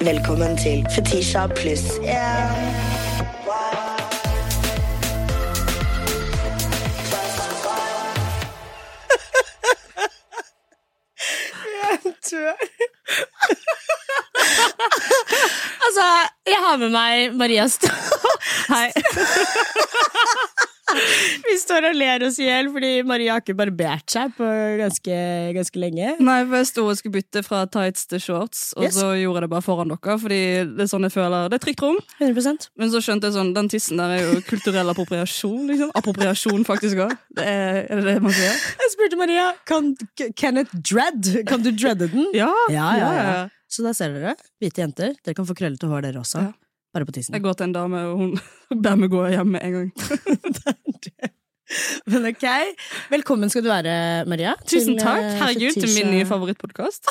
Velkommen til Fetisha pluss en. Altså, jeg har med meg Maria Stå. Hei. Vi står og ler oss i hjel fordi Maria har ikke barbert seg på ganske, ganske lenge. Nei, for jeg sto og skulle bytte fra tights til shorts, og Yes. så gjorde jeg det bare foran dere. Fordi det er sånn jeg føler Det er trygt rom, 100 men så skjønte jeg sånn Den tissen der er jo kulturell appropriasjon, liksom. Appropriasjon, faktisk òg. Er er det det man sier? Jeg spurte Maria kan k- Kenneth Dread. Kan du dreade den? Ja. Ja, ja, ja. Så der ser dere. Hvite jenter. Dere kan få krøllete hår, dere også. Ja. Bare på tissen. Jeg går til en dame, og hun ber meg gå hjem med en gang. Men ok. Velkommen skal du være, Maria. til, Tusen takk. eh, Ah, Herregud, til min Fetisha- nye favorittpodkast.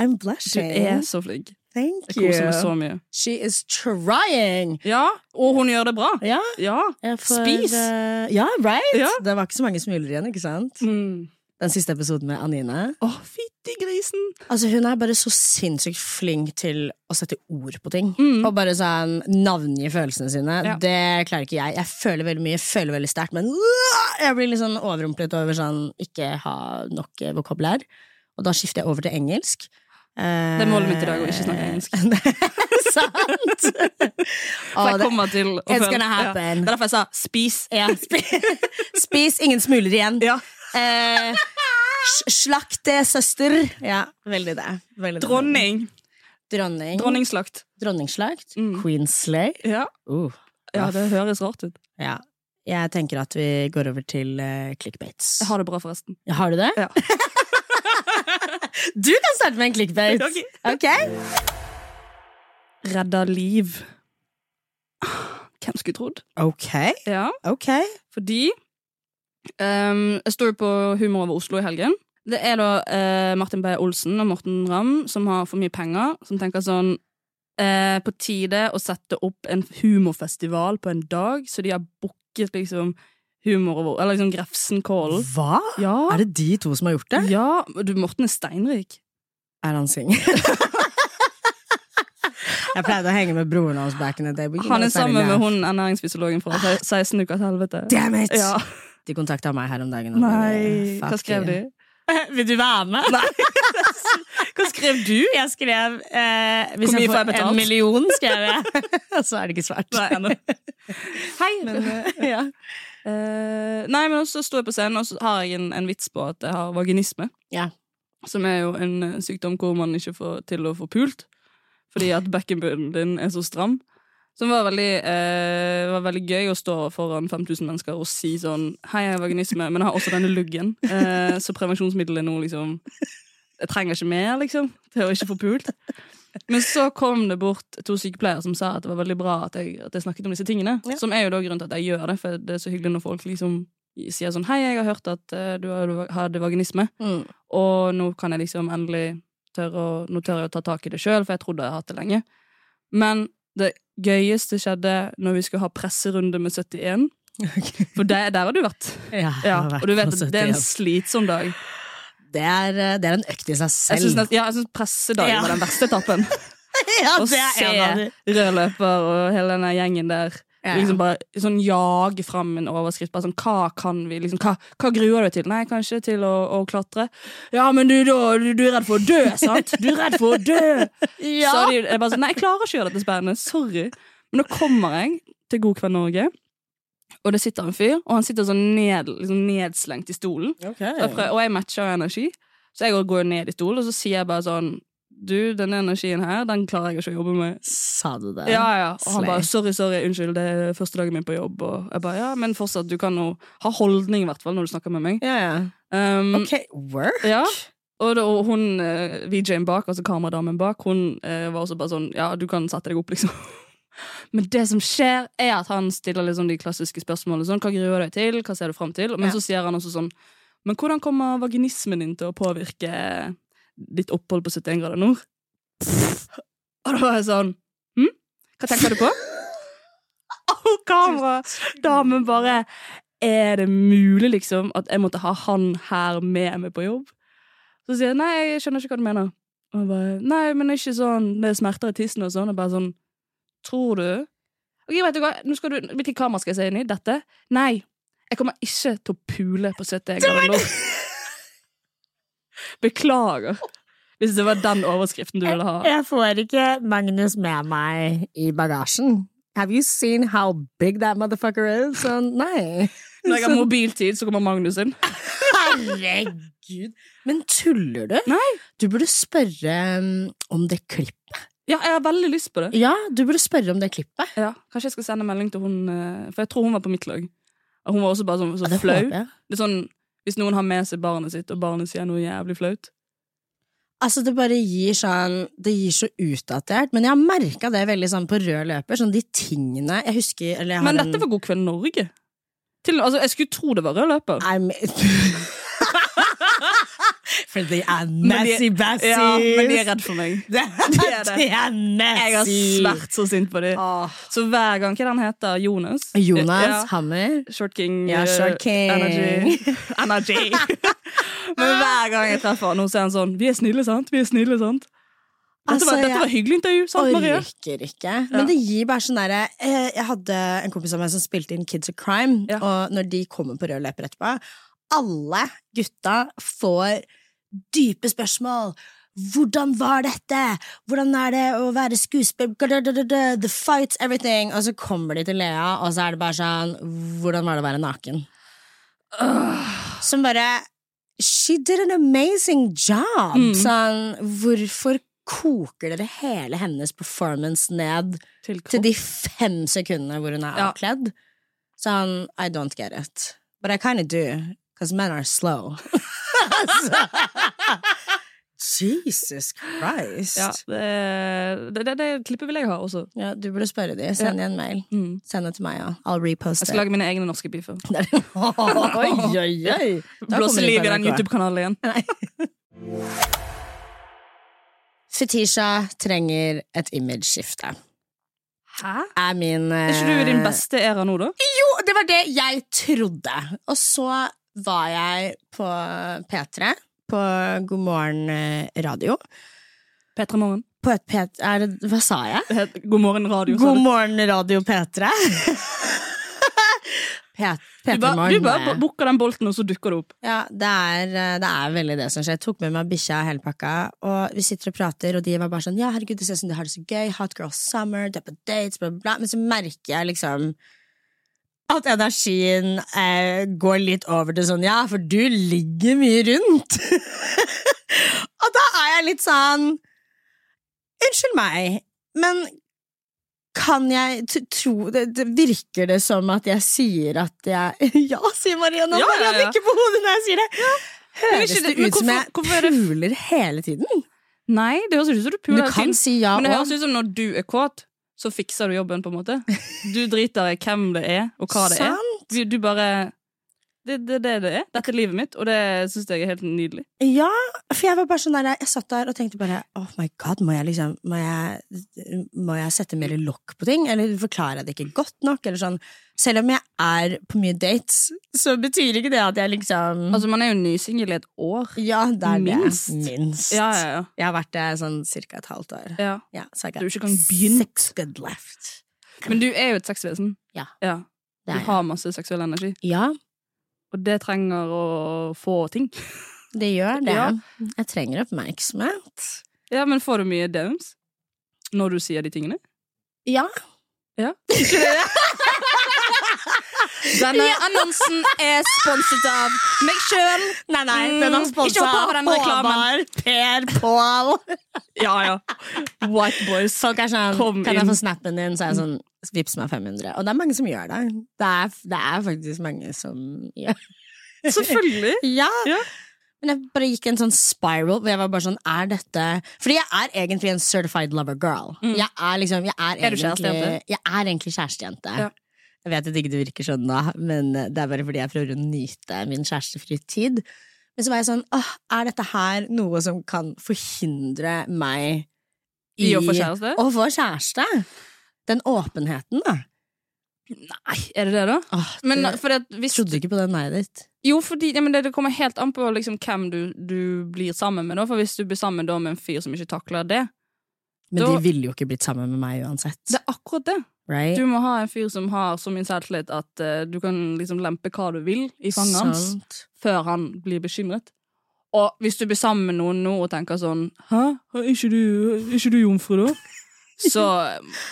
I'm Du blushing. er så flink. Thank Jeg koser meg you. så mye. She is trying. Ja, og hun gjør det bra. Ja. Ja. Jeg får, Spis! eh, ja, right? Ja. Det var ikke så mange smuler igjen, ikke sant? Å, Den siste episoden med Anine. Mm. fytti grisen! Altså, hun er bare så sinnssykt flink til å sette ord på ting. Mm. Og bare sånn navngi følelsene sine. Ja. Det klarer ikke jeg. Jeg føler veldig mye, føler veldig sterkt, men øh, jeg blir litt sånn overrumplet over sånn ikke ha nok eh, vokabulær. Og da skifter jeg over til engelsk. Eh, Det er målet mitt i dag, å ikke snakke engelsk. Sant! For Å, jeg det- kommer til å It's føle- gonna happen. Ja. Det er derfor jeg sa spis. Ja, spi- spis ingen smuler igjen. Ja. Eh, s- slakt det, søster. Ja, veldig det. Veldig det. Dronning. Dronning. Dronningslakt. Dronningsslakt. Mm. Queen slay. Ja. Uh, ja, det høres rart ut. ja. Jeg tenker at vi går over til eh, clickbaits. Jeg har det bra, forresten. Ja, har du det? Ja. Du kan starte med en clickbait. Ok. Ok. Redda liv. Hvem skulle trodd? Ok. Ja. Ok. Fordi ehm, Jeg står jo på Humor over Oslo i helgen. Det er da eh, Martin B. Olsen og Morten Ramm som har for mye penger, som tenker sånn eh, På tide å sette opp en humorfestival på en dag, så de har booket liksom humor over Eller liksom Grefsenkollen. Hva? Ja. Er det de to som har gjort det? Ja, du, Morten er steinrik. Er han singel? Jeg pleide å henge med broren hans back in the day. but you Han know er it's not sammen med enough. hun ernæringsfysiologen Ah. fra se- 16 uker til helvete. Damn it! Ja. De kontakta meg her om dagen. og Nei, bare, fuck hva skrev de? you. Vil du være med? Hva skrev du? Jeg skrev eh, hvis Hvor mye får jeg betalt? En million, skrev jeg. Og så er det ikke svart. Nei, ennå. Hei! Men, eh, ja. Eh, nei, men så står jeg på scenen, og så har jeg en, en vits på at jeg har vaginisme. Ja. Som er jo en eh, sykdom hvor man ikke får til å få pult. Fordi at bekkenbunnen din er så stram. Som var veldig, eh, var veldig gøy å stå foran 5000 mennesker og si sånn Hei, jeg har vaginisme, men jeg har også denne luggen. Eh, så prevensjonsmiddelet nå, liksom Jeg trenger ikke mer, liksom. Til å ikke få pult. Men så kom det bort to sykepleiere som sa at det var veldig bra at jeg, at jeg snakket om disse tingene. Ja. Som er jo da grunnen til at jeg gjør det, for det er så hyggelig når folk liksom sier sånn Hei, jeg har hørt at eh, du har- hadde vaginisme, Mm. og nå kan jeg liksom endelig tørre å, nå tør jeg å ta tak i det sjøl, for jeg trodde jeg har hatt det lenge. Men det gøyeste skjedde når vi skulle ha presserunde med 71, for der, der har du vært. Ja, jeg Ja, har vært og du vet på at det er en 71. slitsom dag. det, er, eh, det er en økt i seg Jeg selv. syns nest- ja, jeg syns pressedagen Ja. var den verste etappen. ja, Å det er en av de. se rød løper og hele denne gjengen der Ja. liksom bare sånn jage fram en overskrift. Bare sånn, hva kan vi liksom, hva, hva gruer du deg til? Nei, kanskje til å, å klatre. Ja, men du, da, du, du er redd for å dø, sant? Du er redd for å dø! Ja. Så er det jo- jeg bare sånn, nei, jeg klarer ikke å gjøre dette spennende. Sorry. Men nå kommer jeg til God kveld Norge, og det sitter en fyr, og han sitter sånn ned, liksom nedslengt i stolen. Og jeg, prøver, og jeg matcher energi. Så jeg går ned i stolen, og så sier jeg bare sånn Du, denne energien her, den klarer jeg ikke å jobbe med. Sa du det? Ja, ja. Og han Slay. bare 'sorry, sorry, unnskyld, det er første dagen min på jobb'. Og jeg bare 'ja, men fortsatt, du kan jo ha holdning, i hvert fall, når du snakker med meg'. ja, ja. Um, Ok, work. ja. Og, da, og hun eh, VJ-en bak, altså kameradamen bak, hun eh, var også bare sånn Ja, du kan sette deg opp, liksom. Men det som skjer, er at han stiller liksom de klassiske spørsmålene sånn Hva gruer du deg til? Hva ser du fram til? Men Ja. så sier han også sånn Men hvordan kommer vaginismen din til å påvirke ditt opphold på 71 grader nord? Og da var jeg sånn Hm? Hva tenker du på? Og kameradamen bare Er det mulig, liksom, at jeg måtte ha han her med meg på jobb? Så sier jeg nei, jeg skjønner ikke hva du mener. Og jeg bare Nei, men ikke sånn Det er smerter i tissen og sånn. Og bare sånn Tror du? Ok, vet du hva? Nå skal du Hvilket kamera skal jeg se inn i? Dette? Nei. Jeg kommer ikke til å pule på 70 grader. Beklager. Hvis det var den overskriften du ville ha. Jeg får ikke Magnus med meg i bagasjen. Have you seen how big that motherfucker is? Så nei. Når jeg har mobiltid, så kommer Magnus inn. Herregud. Men tuller du? Nei. Du burde spørre um, om det klippet. Ja, jeg har veldig lyst på det. Ja, du burde spørre om det klippet. Ja, Kanskje jeg skal sende melding til hun eh, For jeg tror hun var på mitt lag. Og hun var også bare sånn så det flau. håper jeg. Det er sånn, Hvis noen har med seg barnet sitt, og barnet sier noe jævlig flaut Altså, det bare gir sånn Det gir så utdatert. Men jeg har merka det veldig sånn på rød løper. Sånn de tingene Jeg husker eller jeg har Men en- dette var God kveld Norge. Til, altså, jeg skulle tro det var rød løper. Nei, men For de er Men de- messy bassis. Ja, men de er redd for meg. Det De er det. de er Jeg har messy. svært så sint på dem. Åh. Så hver gang Hva er det han heter? Jonas? Ah. Jonas Ja. Hammer. Short King. Ja, eh, Short King. Energy. Energy. Men hver gang jeg treffer han, så er han sånn Vi er snille, sant? Vi er snille, sant? Dette, Altså, var, dette jeg- var hyggelig intervju, sant, Maria? Orker ikke. Men det gir bare sånn derre eh, Jeg hadde en kompis av meg som spilte inn Kids of Crime, Ja. og når de kommer på rød løper etterpå Alle gutta får dype spørsmål. Hvordan var dette? Hvordan er det å være skuespiller? Gadadadada, The fights, everything. Og så kommer de til Lea, og så er det bare sånn Hvordan var det å være naken? Som bare She did an amazing job! Mm. Sånn, hvorfor koker dere hele hennes performance ned til de fem sekundene hvor hun er Ja. avkledd? Sånn, I don't get it. But I kinda do, because men are slow. Altså. Jesus Christ. Ja, Ja. det, det, det, det klippet vil jeg ha også. du burde spørre de. Send de en mail. Mm. Send det til meg, ja. I'll Jeg repost skal lage mine egne norske beefer. det. oi, oi, oi! Da Blåse kommer de liv i på den NRK. YouTube-kanalen igjen. Fetisha trenger et imageskifte. Hæ? Er min eh, Er ikke du i din beste æra nå, da? Jo, det var det jeg trodde. Og så var jeg på P3, på God morgen eh, radio. Petra Morgen. På et P... Er det, hva sa jeg? Det heter God morgen radio. sa God du. morgen radio P3. Du bare, P3morgen. du bare booker den bolten, og så dukker det opp. Ja, det er, eh, det er veldig det som skjer. Jeg tok med meg bikkja og hele pakka, og vi sitter og prater, og de var bare sånn Ja, herregud, det ser ut som de har det så gøy. Hot girl summer, det er på dates, bla, bla, bla. Men så merker jeg liksom at energien eh, går litt over til sånn Ja, for du ligger mye rundt. og da er jeg litt sånn Unnskyld meg, men kan jeg t tro det, det Virker det som at jeg sier at jeg Ja, sier Maria nå, Ja, ja, Maria ja. nikker på hodet når jeg sier det. Men Høres ikke det det- men ut som hvorfor- jeg hvorfor er det- puler hele tiden? Nei, det høres ikke ut som du Du puler hele kan tiden. si ja Men det høres òg. ut som når du er kåt, så fikser du jobben, på en måte. Du driter i hvem det er, og hva det er. Sant? Du, du bare Det er det, det det er. Dette er livet mitt, og det syns jeg er helt nydelig. Ja, for jeg var bare sånn der Jeg satt der og tenkte bare Oh my god, må jeg liksom Må jeg, må jeg sette mer lokk på ting? Eller forklarer jeg det ikke godt nok? Eller sånn Selv om jeg er på mye dates, så betyr ikke det at jeg liksom Altså, man er jo nysingel i et år. Ja, det er minst. det. Minst. Ja, ja, ja. Jeg har vært det sånn cirka et halvt år. ja. Ja, så jeg Du har ikke engang begynt. Six good left. Men du er jo et sexvesen. Ja. Det Du er jeg. har masse seksuell energi, Ja, og det trenger å få ting. det gjør det. Ja. Jeg trenger oppmerksomhet. Ja, men får du mye downs når du sier de tingene? Ja. Ja. Denne annonsen er sponset av meg sjøl. Nei, nei, Mm, den har sponsa ikke hopp over den reklamen. Per Pål. Ja, ja. White boys. Folk er sånn Kom Kan jeg inn. få snappen din? Så er jeg sånn Vips meg 500. Og det er mange som gjør det. Det er, det er faktisk mange som gjør Selvfølgelig. Ja. Ja. Men jeg bare gikk i en sånn spiral hvor jeg var bare sånn Er dette Fordi jeg er egentlig en certified lover girl. Jeg er liksom jeg er, Mm. Er du egentlig, kjærestejente? Jeg er egentlig kjærestejente. Ja. Jeg vet at ikke det virker sånn da, men det er bare fordi jeg prøver å nyte min kjærestefrie tid. Men så var jeg sånn Åh, er dette her noe som kan forhindre meg I å få kjæreste? Å få kjæreste? Den åpenheten, da. Nei, er det det, da? Åh, Men det, for at hvis trodde ikke på den nei ditt. Jo, fordi ja, men det, det kommer helt an på liksom, hvem du, du blir sammen med. Da. For Hvis du blir sammen da, med en fyr som ikke takler det Men Da- de ville jo ikke blitt sammen med meg uansett. Det er akkurat det. right? Du må ha en fyr som har så mye selvtillit at eh, du kan liksom lempe hva du vil i fanget hans Sant. før han blir bekymret. Og hvis du blir sammen med noen nå og tenker sånn Hæ, er ikke du, er ikke du jomfru, da? Så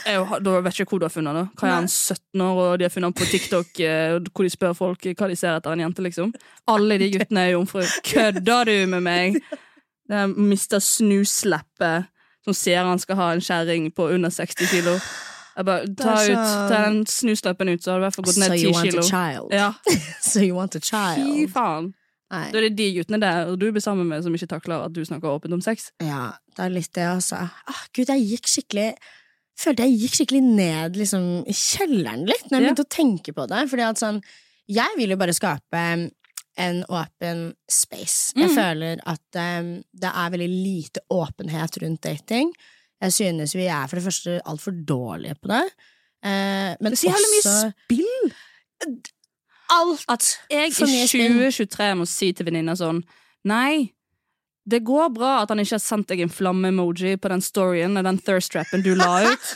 er jo, da vet jeg ikke hvor du har funnet det. Hva er han, 17 år, og de har funnet han på TikTok eh, hvor de spør folk hva de ser etter en jente, liksom. Alle de guttene er jomfru. Kødder du med meg? Det er Mr. Snusleppe som sier han skal ha en kjerring på under 60 kilo. Jeg bare, Det ta, er ut, så- ta den snusleppen ut, så har du i hvert fall gått So ned you 10 want a kilo. child. Ja, So you want a fy child. faen. Nei. Da er det de guttene der og du blir sammen med som ikke takler at du snakker åpent om sex. Ja, det er litt det, altså. Ah, Gud, jeg gikk skikkelig Følte jeg gikk skikkelig ned liksom, i kjelleren litt når jeg Ja. begynte å tenke på det. Fordi at sånn Jeg vil jo bare skape en åpen space. Jeg Mm. føler at em, det er veldig lite åpenhet rundt dating. Jeg synes vi er for det første altfor dårlige på det. Eh, men Det er så jævlig mye også spill! alt At jeg i for mye spill. 2023 må si til venninna sånn Nei, det går bra at han ikke har sendt deg en flamme-emoji på den storyen og den thirst-trappen du la ut.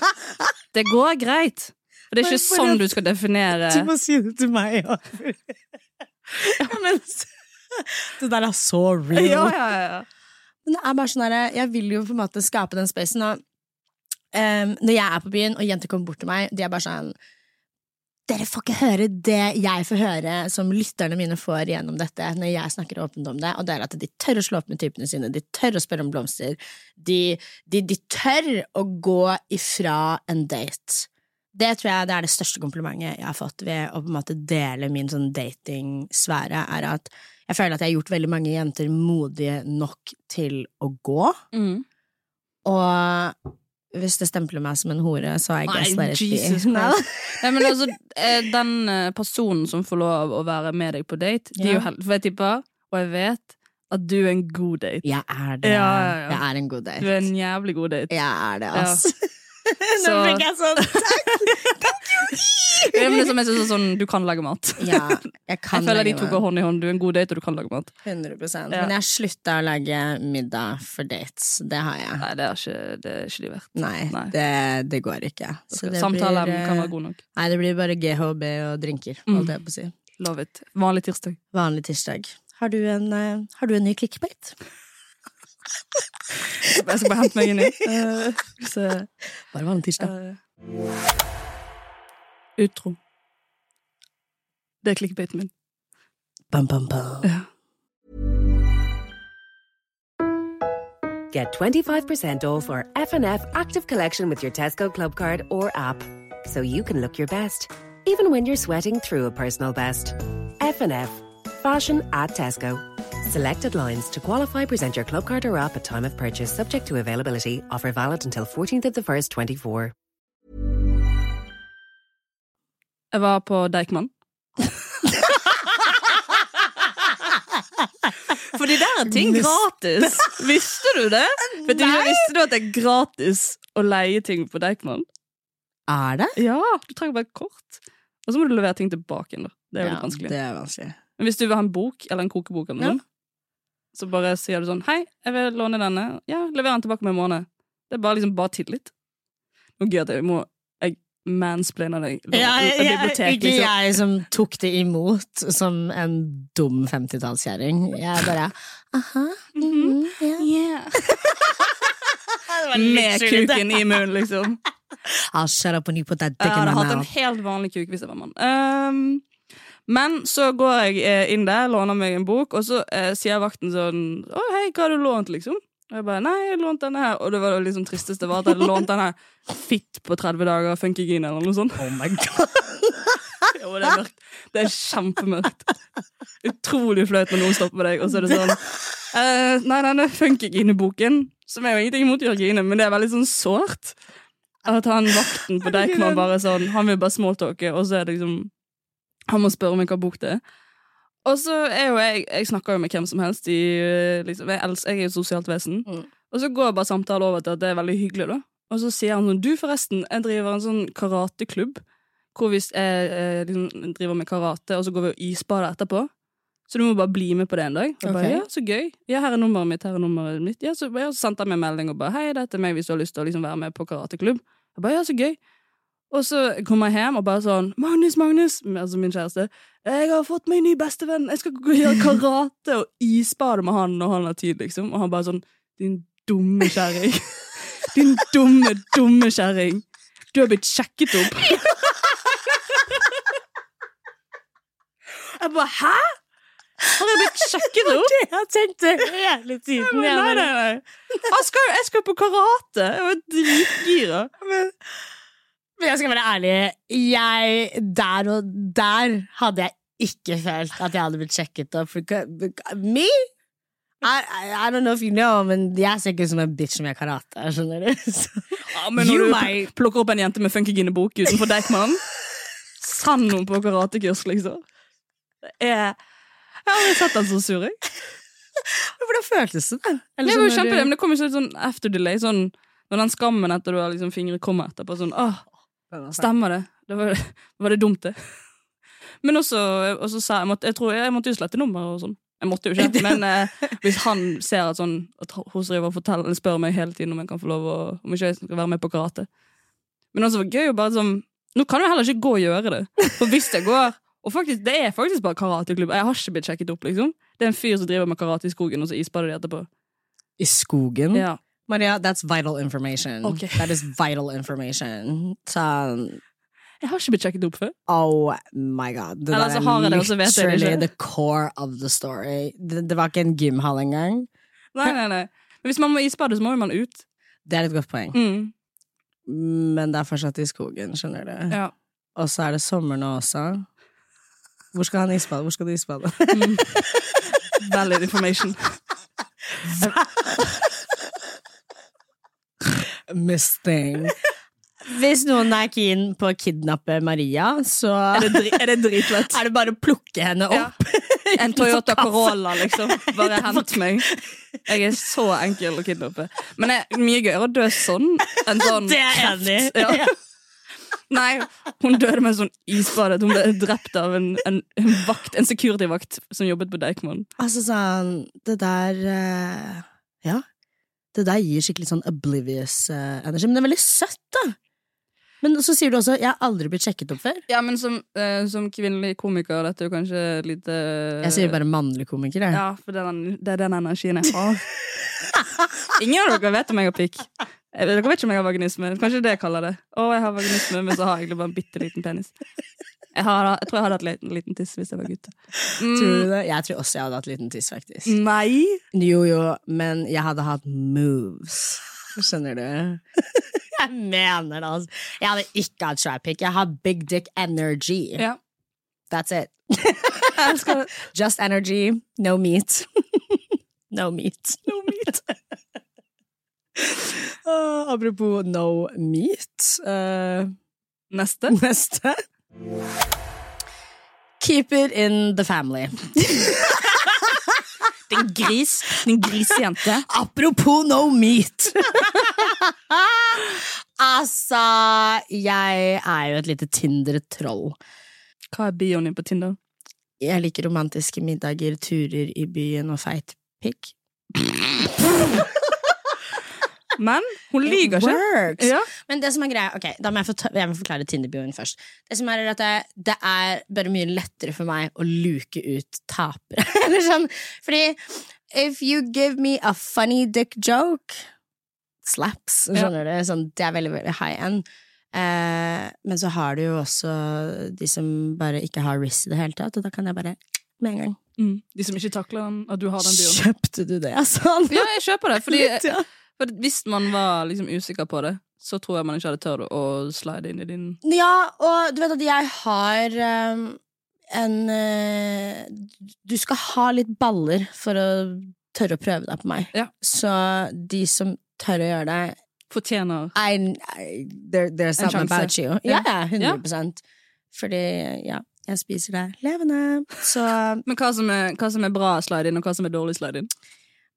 Det går greit. For det er ikke Men bare- sånn du skal definere Du må si det til meg òg. det der er så real. ja, ja, ja. Men det er bare sånn der, jeg vil jo på en måte skape den spacen. Og, ehm, når jeg er på byen, og jenter kommer bort til meg, de er bare sånn Dere får ikke høre det jeg får høre, som lytterne mine får gjennom dette, når jeg snakker åpent om det, og det er at de tør å slå opp med typene sine, de tør å spørre om blomster, de, de, de tør å gå ifra en date. Det tror jeg det er det største komplimentet jeg har fått ved å på en måte dele min sånn datingsfære, er at jeg føler at jeg har gjort veldig mange jenter modige nok til å gå. Mm. Og hvis det stempler meg som en hore, så er jeg guess Nei, let it be. Jesus Nei da. Christ. Nei, men altså, eh, den eh, personen som får lov å være med deg på date, de er jo Ja. helt, for jeg tipper, og jeg vet, at du er en god date. Jeg er det. Ja, ja, ja. Jeg er en god date. Du er en jævlig god date. Jeg er det, Ja. ass. Så, jeg sånn Ja, men det er som jeg synes er sånn, du kan lage mat. Ja, jeg kan jeg føler de lage to mat. går hånd i hånd. Du er en god date, og du kan lage mat. 100 Ja. Men jeg slutta å lage middag for dates. Det har jeg. Nei, det er ikke det, er ikke de verdt. Nei, Nei. Det, det går ikke. Så det Samtaler blir, eh, kan være god nok. Nei, det blir bare GHB og drinker, Mm. holdt jeg på å si. Love it. Vanlig tirsdag. Vanlig tirsdag. Har du en, eh, har du en ny clickbait? Jeg skal bare hente meg en ny. Eh, så, Bare vanlig tirsdag. eh. Utro. Det er clickbaiten min. Bam, bam, bam. Get 25% off our F&F active collection with your Tesco Club card or app. So you can look your best, even when you're sweating through a personal best. F&F. Fashion at Tesco. Selected lines to qualify present your club card or app at time of purchase subject to availability. Offer valid until 14th of the 1st, 24. Jeg var på Deichman. Fordi der er ting Visste- gratis. Visste du det? Vet du, visste du at det er gratis å leie ting på Deichman? Er det? Ja, du trenger bare et kort. Og så må du levere ting tilbake igjen. da. Det er jo litt vanskelig. Det er vanskelig. Men hvis du vil ha en bok, eller en kokebok, eller Ja. noe, så bare sier du sånn Hei, jeg vil låne denne. Ja, lever den tilbake om en måned. Det er bare liksom bare tillit. Nå gøy at jeg må Jeg mansplainer deg. bibliotek, ikke liksom. jeg som tok det imot som en dum 50-tallskjerring. Jeg bare aha. mhm, ja. Med kuken i munnen, liksom. I'll shut up when you put that dick Jeg in hadde my hatt en mouth. helt vanlig kuk hvis jeg var mann. Ehm, men så går jeg eh, inn der, låner meg en bok, og så eh, sier vakten sånn Å, hei, hva har du lånt, liksom? Og jeg bare Nei, jeg lånte denne her. Og det var det liksom tristeste var at jeg hadde lånt denne Fitt på 30 dager, funkygin eller noe sånt. Oh my god. Jo, det er mørkt. Det er kjempemørkt. Utrolig flaut når noen stopper deg, og så er det sånn eh, Nei, denne funkygine-boken, som er jo ingenting imot Jørgine, men det er veldig sånn sårt. At han vakten på Deichman bare sånn Han vil bare smalltalke, og så er det liksom Han må spørre meg hva bok det er. Og så er jo jeg Jeg snakker jo med hvem som helst. I, eh, liksom, jeg, els- jeg er jo et sosialt vesen. Mm. Og så går bare samtalen over til at det er veldig hyggelig, da. Og så sier han sånn Du, forresten, jeg driver en sånn eh, karateklubb hvor hvis jeg eh, liksom driver med karate, og så går vi og isbader etterpå, Så du må bare bli med på det en dag. Og bare, Ok. ja, så gøy. Ja, her er nummeret mitt, her er nummeret mitt. Ja, så, ja, så sendte han meg en melding og bare, hei, dette er meg hvis du har lyst til å liksom, være med på karateklubb. Jeg bare, ja, så gøy. Og så kom jeg hjem og bare sånn, Magnus, Magnus, altså min kjæreste, jeg har fått meg en ny bestevenn, jeg skal gå og gjøre karate og isbade med han når han har tid, liksom. Og han bare sånn, din dumme kjæring. Din dumme, dumme kjæring. Du har blitt sjekket opp. Jeg bare, hæ? Han har blitt sjekket opp? Jeg har tenkt det hele Jeg tiden. bare, Nei, nei, nei. Han skal, jo- jeg skal på karate. Jeg var dritgira. Men, men jeg skal være ærlig. Jeg, der og der hadde jeg ikke følt at jeg hadde blitt sjekket opp. For ka- me? I, I, I don't know if you know, men jeg ser ikke ut som en bitch som gjør karate. Skjønner du? Så, Ja, men når You du might. plukker opp en jente med funkygine bok utenfor Deichman Send henne på karatekurs, liksom. Det er Jeg har aldri sett han så sur, jeg. hvordan føltes det? da? Eller Det var jo sånn når du- kjempedem. Det kom jo sånn- sånn after delay. Sånn, når den skammen etter du har liksom fingre kommer etterpå. Sånn, åh, Stemmer det. Det var, var det dumt, det. Men også, og så sa jeg, måtte, jeg, tror, jeg måtte jo slette nummer og sånn. Jeg måtte jo ikke, men eh, hvis han ser at, sånn, at hun driver og forteller, eller spør meg hele tiden om jeg kan få lov å, om ikke jeg skal være med på karate. Men også var det gøy å bare sånn Nå kan jeg heller ikke gå og gjøre det. For hvis jeg går Og faktisk, det er faktisk bare karateklubb. Jeg har ikke blitt sjekket opp, liksom. Det er en fyr som driver med karate i skogen, og så isbader de etterpå. I skogen? Ja. Maria, that's vital information. Ok. That is vital information. Sånn Jeg har ikke blitt sjekket opp før. Oh my god. Det Eller der så er har jeg det, og så vet jeg det literally ikke. the core of the story. Det, det var ikke en gymhall engang. Nei, nei, nei. Men hvis man må isbade, så må jo man ut. Det er et godt poeng. Mm. Men det er fortsatt i skogen, skjønner du. Ja. Og så er det sommer nå også. Hvor skal han isbade? Hvor skal du isbade? Valid information. Miss thing. Hvis noen er keen på å kidnappe Maria, så Er det, dri- er det dritlett? er det bare å plukke henne Ja. opp. En Toyota Corolla, liksom. Bare hent meg. Jeg er så enkel å kidnappe. Men det er mye gøyere å dø sånn enn sånn Det er jeg enig i. Ja. Nei, hun døde med en sånn isbadet. Hun ble drept av en, en, en vakt, en security-vakt som jobbet på Deichman. Altså sånn, det der eh, Ja. Det der gir skikkelig sånn oblivious eh, energi. Men det er veldig søtt, da! Men så sier du også 'jeg har aldri blitt sjekket opp før'. Ja, men som, eh, som kvinnelig komiker, dette er jo kanskje eh, lite Jeg sier bare mannlig komiker, jeg. Ja, for det er den, det er den energien jeg har. Ingen av dere vet om jeg har pikk. Eh, Dere vet ikke om jeg har vaginisme. Kanskje det jeg kaller det. Å, jeg har vaginisme, men så har jeg egentlig bare en bitte liten penis. Jeg, har, jeg tror jeg hadde hatt liten, liten tiss hvis jeg var gutt. Tror Mm. du det? Jeg tror også jeg hadde hatt liten tiss, faktisk. Nei! Jo, jo, men jeg hadde hatt moves. Skjønner du? jeg mener det, altså. Jeg hadde ikke hatt trappic. Jeg har big dick energy. Ja. That's it. Jeg elsker det. Just energy, no meat. no meat. No meat. Ah, apropos no meat. eh, Neste. neste. Keep it in the family. Din gris. Din grisejente. Apropos no meat. altså, jeg er jo et lite Tinder-troll. Hva er bioen din på Tinder? Jeg liker romantiske middager, turer i byen og feit pikk. Men hun lyver ikke. Works. Ja. Men det som er greia, ok, da må jeg, forta- jeg må forklare Tinder-bioen først. Det som er er at det, det er bare mye lettere for meg å luke ut tapere. Eller sånn, fordi if you give me a funny dick joke, slaps, skjønner du? Sånn, det er veldig, veldig high end. Eh, men så har du jo også de som bare ikke har riss i det hele tatt, og da kan jeg bare med en gang. Mm. De som ikke takler den, at du har den bioen. Kjøpte du det, altså? Ja, jeg kjøper det. Fordi Litt, ja. For hvis man var liksom usikker på det, så tror jeg man ikke hadde tørt å slide inn i din Ja, og du vet at jeg har um, en eh, Du skal ha litt baller for å tørre å prøve deg på meg. Ja. Så de som tør å gjøre det Fortjener I, I, there, There's En something sjanse. about you. Ja. Ja, ja, 100 Fordi, ja, jeg spiser deg levende. Så Men hva som er, hva som er bra slide inn, og hva som er dårlig slide inn?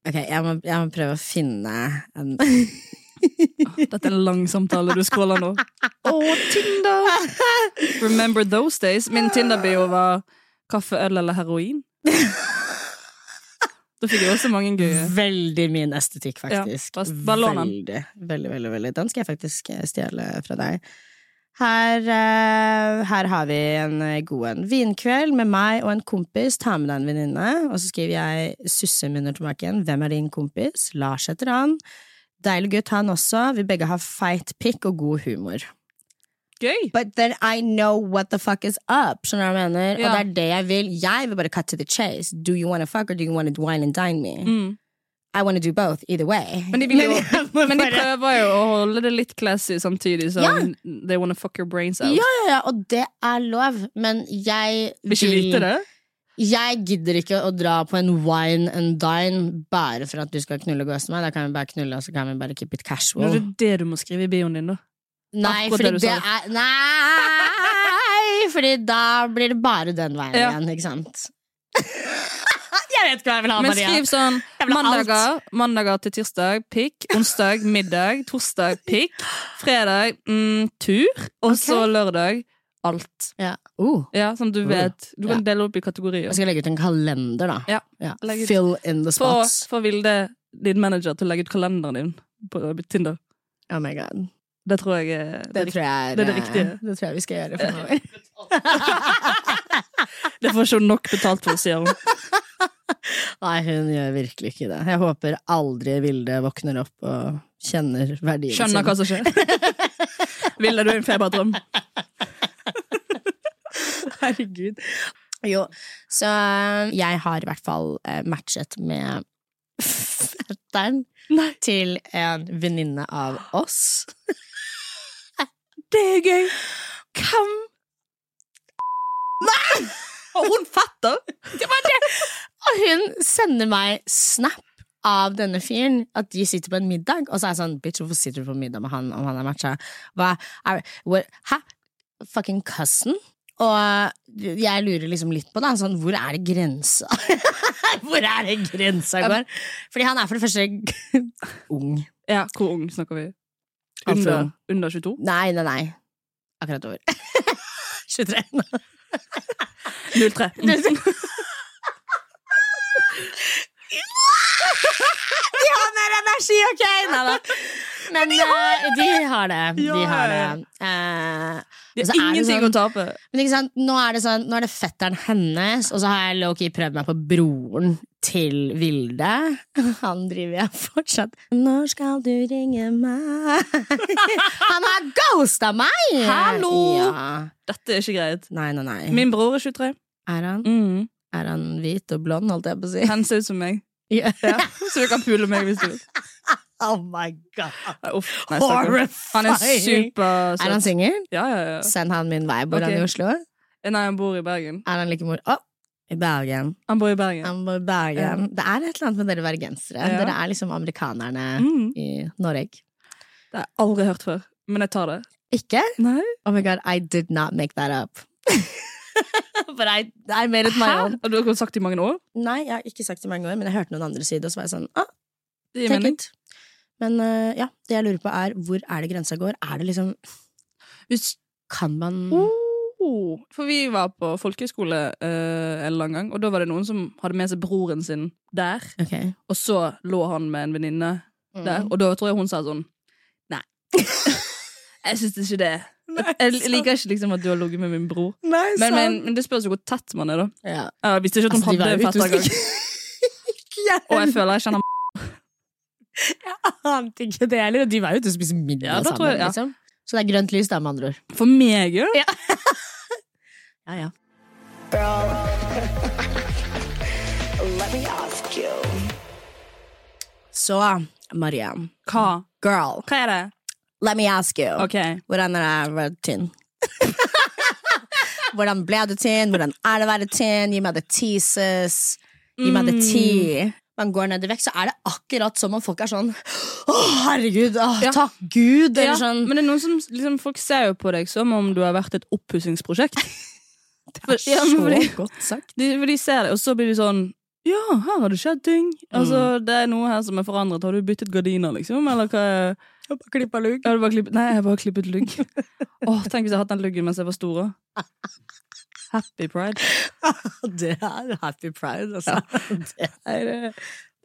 Ok, jeg må, jeg må prøve å finne en Dette er en lang samtale du scroller nå. Å, Tinder! Remember those days? Min Tinder-bio var kaffe, øl eller heroin. Da fikk jeg også mange gøye. Veldig min estetikk, faktisk. Ja, fast bare lån den. veldig, veldig, veldig, veldig. Den skal jeg faktisk eh, stjele fra deg. Her, eh, her har vi en eh, god en. Vinkveld med meg og en kompis. Ta med deg en venninne. Og så skriver jeg sussemunner til maken. Hvem er din kompis? Lars heter han. Deilig gutt, han også. Vi begge har feit pikk og god humor. Gøy! But then I know what the fuck is up. Skjønner du hva jeg mener? Ja. Og det er det jeg vil. Jeg vil bare cut to the chase. Do you wanna fuck, or do you wanna wine and dine me? Mm. I wanna do both, either way. Men de, vil jo, jeg må men de bare- prøver jo å holde det litt classy samtidig som they wanna fuck your brains out. Ja, ja, ja, og det er lov, men jeg Vil ikke vite det? Jeg gidder ikke å dra på en wine and dine bare for at du skal knulle og gå hos meg. Da kan vi bare knulle, og så kan vi bare keep it Men casual. det er det du må skrive i bioen din, da. Nei, akkurat fordi det du det, sa. er Nei! Fordi da blir det bare den veien Ja. igjen, ikke sant? jeg vet ikke hva jeg vil ha, Men Maria. skriv sånn Jeg vil ha alt. mandager, mandager til tirsdag, pikk. Onsdag, middag. Torsdag, pikk. Fredag, mm, tur. Og så lørdag, alt. Ja. Uh, Ja, Sånn at du vet. Du kan Ja. Altså, dele opp i kategorier. jeg skal legge ut en kalender, da. Ja. Ja. Legg ut- Fill in the Få, spots. få Vilde, din manager, til å legge ut kalenderen din på Tinder. Oh my god. Det tror jeg eh, er Det tror jeg det er det riktige. Det tror jeg vi skal gjøre fremover. Det får ikke hun nok betalt for, sier hun. Nei, hun gjør virkelig ikke det. Jeg håper aldri Vilde våkner opp og kjenner verdien Skjønner hva som skjer. Vilde, du er en feberdrøm. Herregud. Jo, så eh, jeg har i hvert fall eh, matchet med fetteren til en venninne av oss. Det er gøy! Hvem Nei! Og hun fatter! Og hun sender meg snap av denne fyren at de sitter på en middag, og så er jeg sånn Bitch, hvorfor sitter du på middag med han om han er matcha? Hva er what, Hæ? Fucking cousin? Og jeg lurer liksom litt på da, sånn, hvor er det grensa Hvor er det grensa går? Fordi han er for det første ung. Ja, Hvor ung snakker vi? Alt for Under, ung. under 22? Nei, nei, nei. Akkurat over. 23. nå. 03. Mm. De har mer energi, ok? Nei da. Men eh, de har det. De Ja, har ja, det. ja. Eh, Det og så er det sånn- ingenting å tape. Men ikke sant, nå er det sånn Nå er det fetteren hennes, og så har jeg low-key prøvd meg på broren til Vilde. Han driver jeg fortsatt Når skal du ringe meg? Han har ghosta meg! Hallo! Ja. Dette er ikke greit. Nei, nei, nei. Min bror er 23. Er, han, Mm. er han hvit og blond, holdt jeg på å si? Han ser ut som meg. Ja. Ja. Så du kan pule meg hvis du vil. Oh my god! Nei, Uff, nei, stakkar. han er Horrifying. supersøt. Er han singel? Ja, ja, ja. Send han min vei. Bor Ok. han i Oslo? Er Nei, han bor i Bergen. han like mor... Å! I Bergen. Han bor i Bergen. Han bor i Bergen. Det er et eller annet med dere bergensere. Ja. Dere er liksom amerikanerne Mm. i Norge. Det har jeg aldri hørt før, men jeg tar det. Ikke? Nei? Oh my god, I did not make that up. But I, I made it my own. Har du har sagt det i mange år? Nei, jeg har ikke sagt det i mange år, men jeg hørte noen andre si det, og så var jeg sånn ah, Det gir take mening. it. Men eh, ja, det jeg lurer på er, hvor er det grensa går? Er det liksom Hvis, Kan man oh, for vi var på folkehøyskole eh, en eller annen gang, og da var det noen som hadde med seg broren sin der, Ok. og så lå han med en venninne Mm. der, og da tror jeg hun sa sånn Nei. jeg syns ikke det. Jeg jeg liker ikke liksom at du har ligget med min bror. Mm. Nei, Men, men, men det spørs jo hvor tett man er, da. ja. Jeg visste ikke at hun Altså, de hadde var en jo fetter engang. utrolig- Ikke jeg Og jeg føler jeg kjenner ante ikke det heller. og De var jo ute og spiste middag Ja, da tror sammen. jeg- ja. liksom. Så det er grønt lys, da, med andre ord. For meg, jo. Ja, ja. Bro, let me ask you. Så, Maria. Hva? Girl, Hva er det? let me ask you. Ok. Hvordan er det å være tynn? Hvordan ble du tynn? Hvordan er det å være tynn? Gi meg the teases. Gi meg the tea. Man går ned i vekt, så er det akkurat som om folk er sånn Å, herregud! Å, Ja. Takk Gud! Eller Ja, sånn. Men det er noen som, liksom, folk ser jo på deg som om du har vært et oppussingsprosjekt. For, ja, men fordi, godt sagt. de, for de ser det, og så blir de sånn Ja, her har det skjedd ting. Altså, Mm. Det er noe her som er forandret. Har du byttet gardiner, liksom? Eller hva er Jeg bare klippa lugg. Har du bare klippet Nei, jeg har bare klippet lugg. Åh, Tenk hvis jeg hadde hatt den luggen mens jeg var stor. også. Happy pride. Det er happy pride, altså. Det er, eh,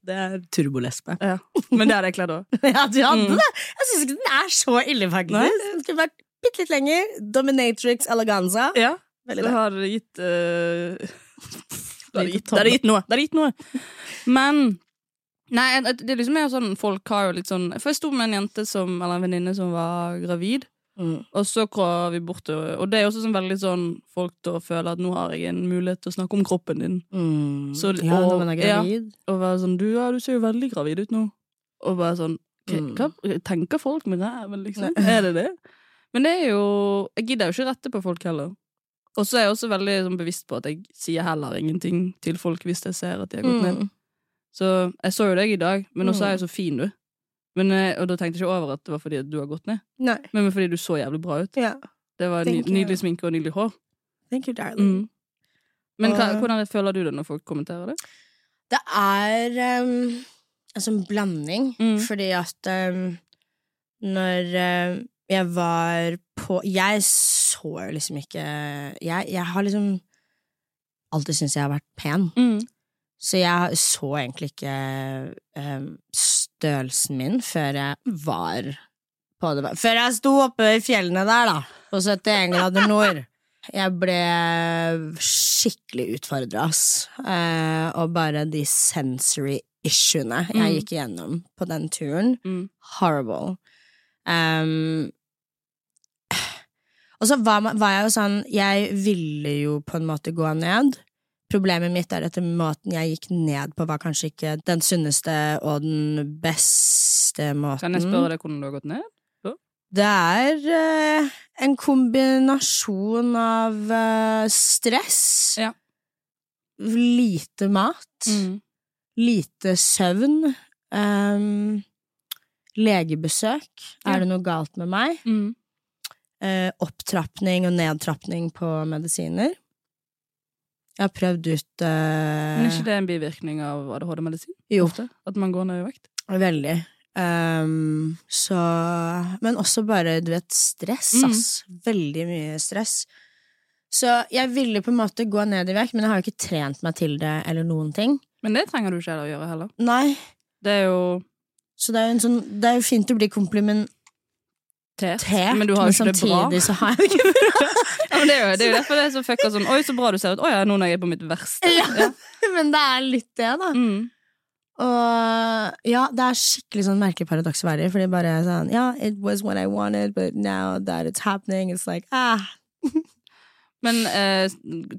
det er turbolesbe. Ja. Men det hadde jeg kledd òg. Ja, du hadde det! Jeg syns ikke den er så ille, faktisk. Den skulle vært bitte litt lenger. Dominatrix eleganza. Ja. Veldig Det bra. har gitt eh, Det har Litt gitt, tomme. det har gitt noe. Det har gitt noe. Men Nei, det er liksom mer sånn folk har jo litt sånn For jeg sto med en jente som, eller en venninne som var gravid, Mm. og så kom vi bort til Og det er også sånn veldig sånn folk til å føle at nå har jeg en mulighet til å snakke om kroppen din. Så- Mm. ja, når og- man er ja. gravid. Og være sånn du, ja, du ser jo veldig gravid ut nå. Og bare sånn «Hva- Mm. Hva tenker folk med ræven, liksom? Er det det? Men det er jo Jeg gidder jo ikke rette på folk heller. Og så er jeg også veldig sånn, bevisst på at jeg sier heller ingenting til folk hvis jeg ser at de har gått ned. Mm. Så jeg så jo deg i dag, men også er jeg så fin, du. Men, eh, og da tenkte jeg ikke over at det var fordi at du har gått ned, Nei. men fordi du så jævlig bra ut. Ja. Det var ny, Thank you. Nydelig sminke og nydelig hår. Thank you, darling. Mm. Men hva, Og- hvordan føler du det når folk kommenterer det? Det er um, altså en blanding, Mm. fordi at um, når um, jeg var på Jeg så jo liksom ikke Jeg, jeg har liksom alltid syntes jeg har vært pen, så jeg så egentlig ikke um, størrelsen min før jeg var på det Før jeg sto oppe i fjellene der, da, på 71 grader nord. Jeg ble skikkelig utfordra, ass. Eh, og bare de sensory issuene jeg Mm. gikk igjennom på den turen. Mm. Horrible. Um, og så var, man- var jeg jo sånn Jeg ville jo på en måte gå ned. Problemet mitt er etter måten jeg gikk ned på, var kanskje ikke den sunneste og den beste måten. Kan jeg spørre deg hvordan du har gått ned? Det er eh, en kombinasjon av eh, stress, Ja. Mm. lite mat, lite søvn, ehm, legebesøk. Ja. Er det noe galt med meg? Mm. Eh, opptrappning og nedtrappning på medisiner. Jeg har prøvd ut eh, Men er ikke det en bivirkning av ADHD-medisin? Jo. Ofte? At man går ned i vekt? Veldig. Ehm, så Men også bare, du vet, stress, Mm. ass. Veldig mye stress. Så jeg ville på en måte gå ned i vekt, men jeg har jo ikke trent meg til det eller noen ting. Men det trenger du ikke heller å gjøre heller. Nei. Det er jo Så det er jo, en sånn, det er jo fint å bli komplimentert, tert, men du har jo men ikke det bra. samtidig så har jeg det ikke Ja, men det, er jo, det er jo derfor det er så fucka sånn Oi, så bra du ser ut. Å ja, nå når jeg er på mitt verste. bra. men det er litt det, da. Mm. Og ja, det er skikkelig sånn merkelig paradoks å være i, fordi bare sånn Ja, it was what I wanted, but now that it's happening, it's like ah. Men eh,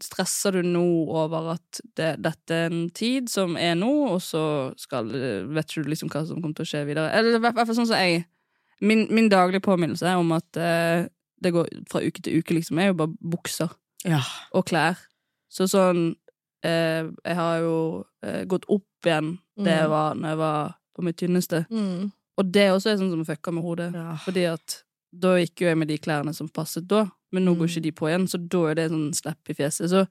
stresser du nå over at det, dette er en tid som er nå, og så skal, vet ikke du liksom hva som kommer til å skje videre? Eller i hvert hvert fall sånn som jeg Min, min daglige påminnelse om at eh, det går fra uke til uke, liksom, er jo bare bukser. Ja. og klær. Så sånn eh, Jeg har jo eh, gått opp igjen det jeg Mm. var når jeg var på mitt tynneste. Mm. Og det også er sånn som fucker med hodet. Ja. Fordi at da gikk jo jeg med de klærne som passet da, men nå går Mm. ikke de på igjen, så da er det sånn slepp i fjeset. Så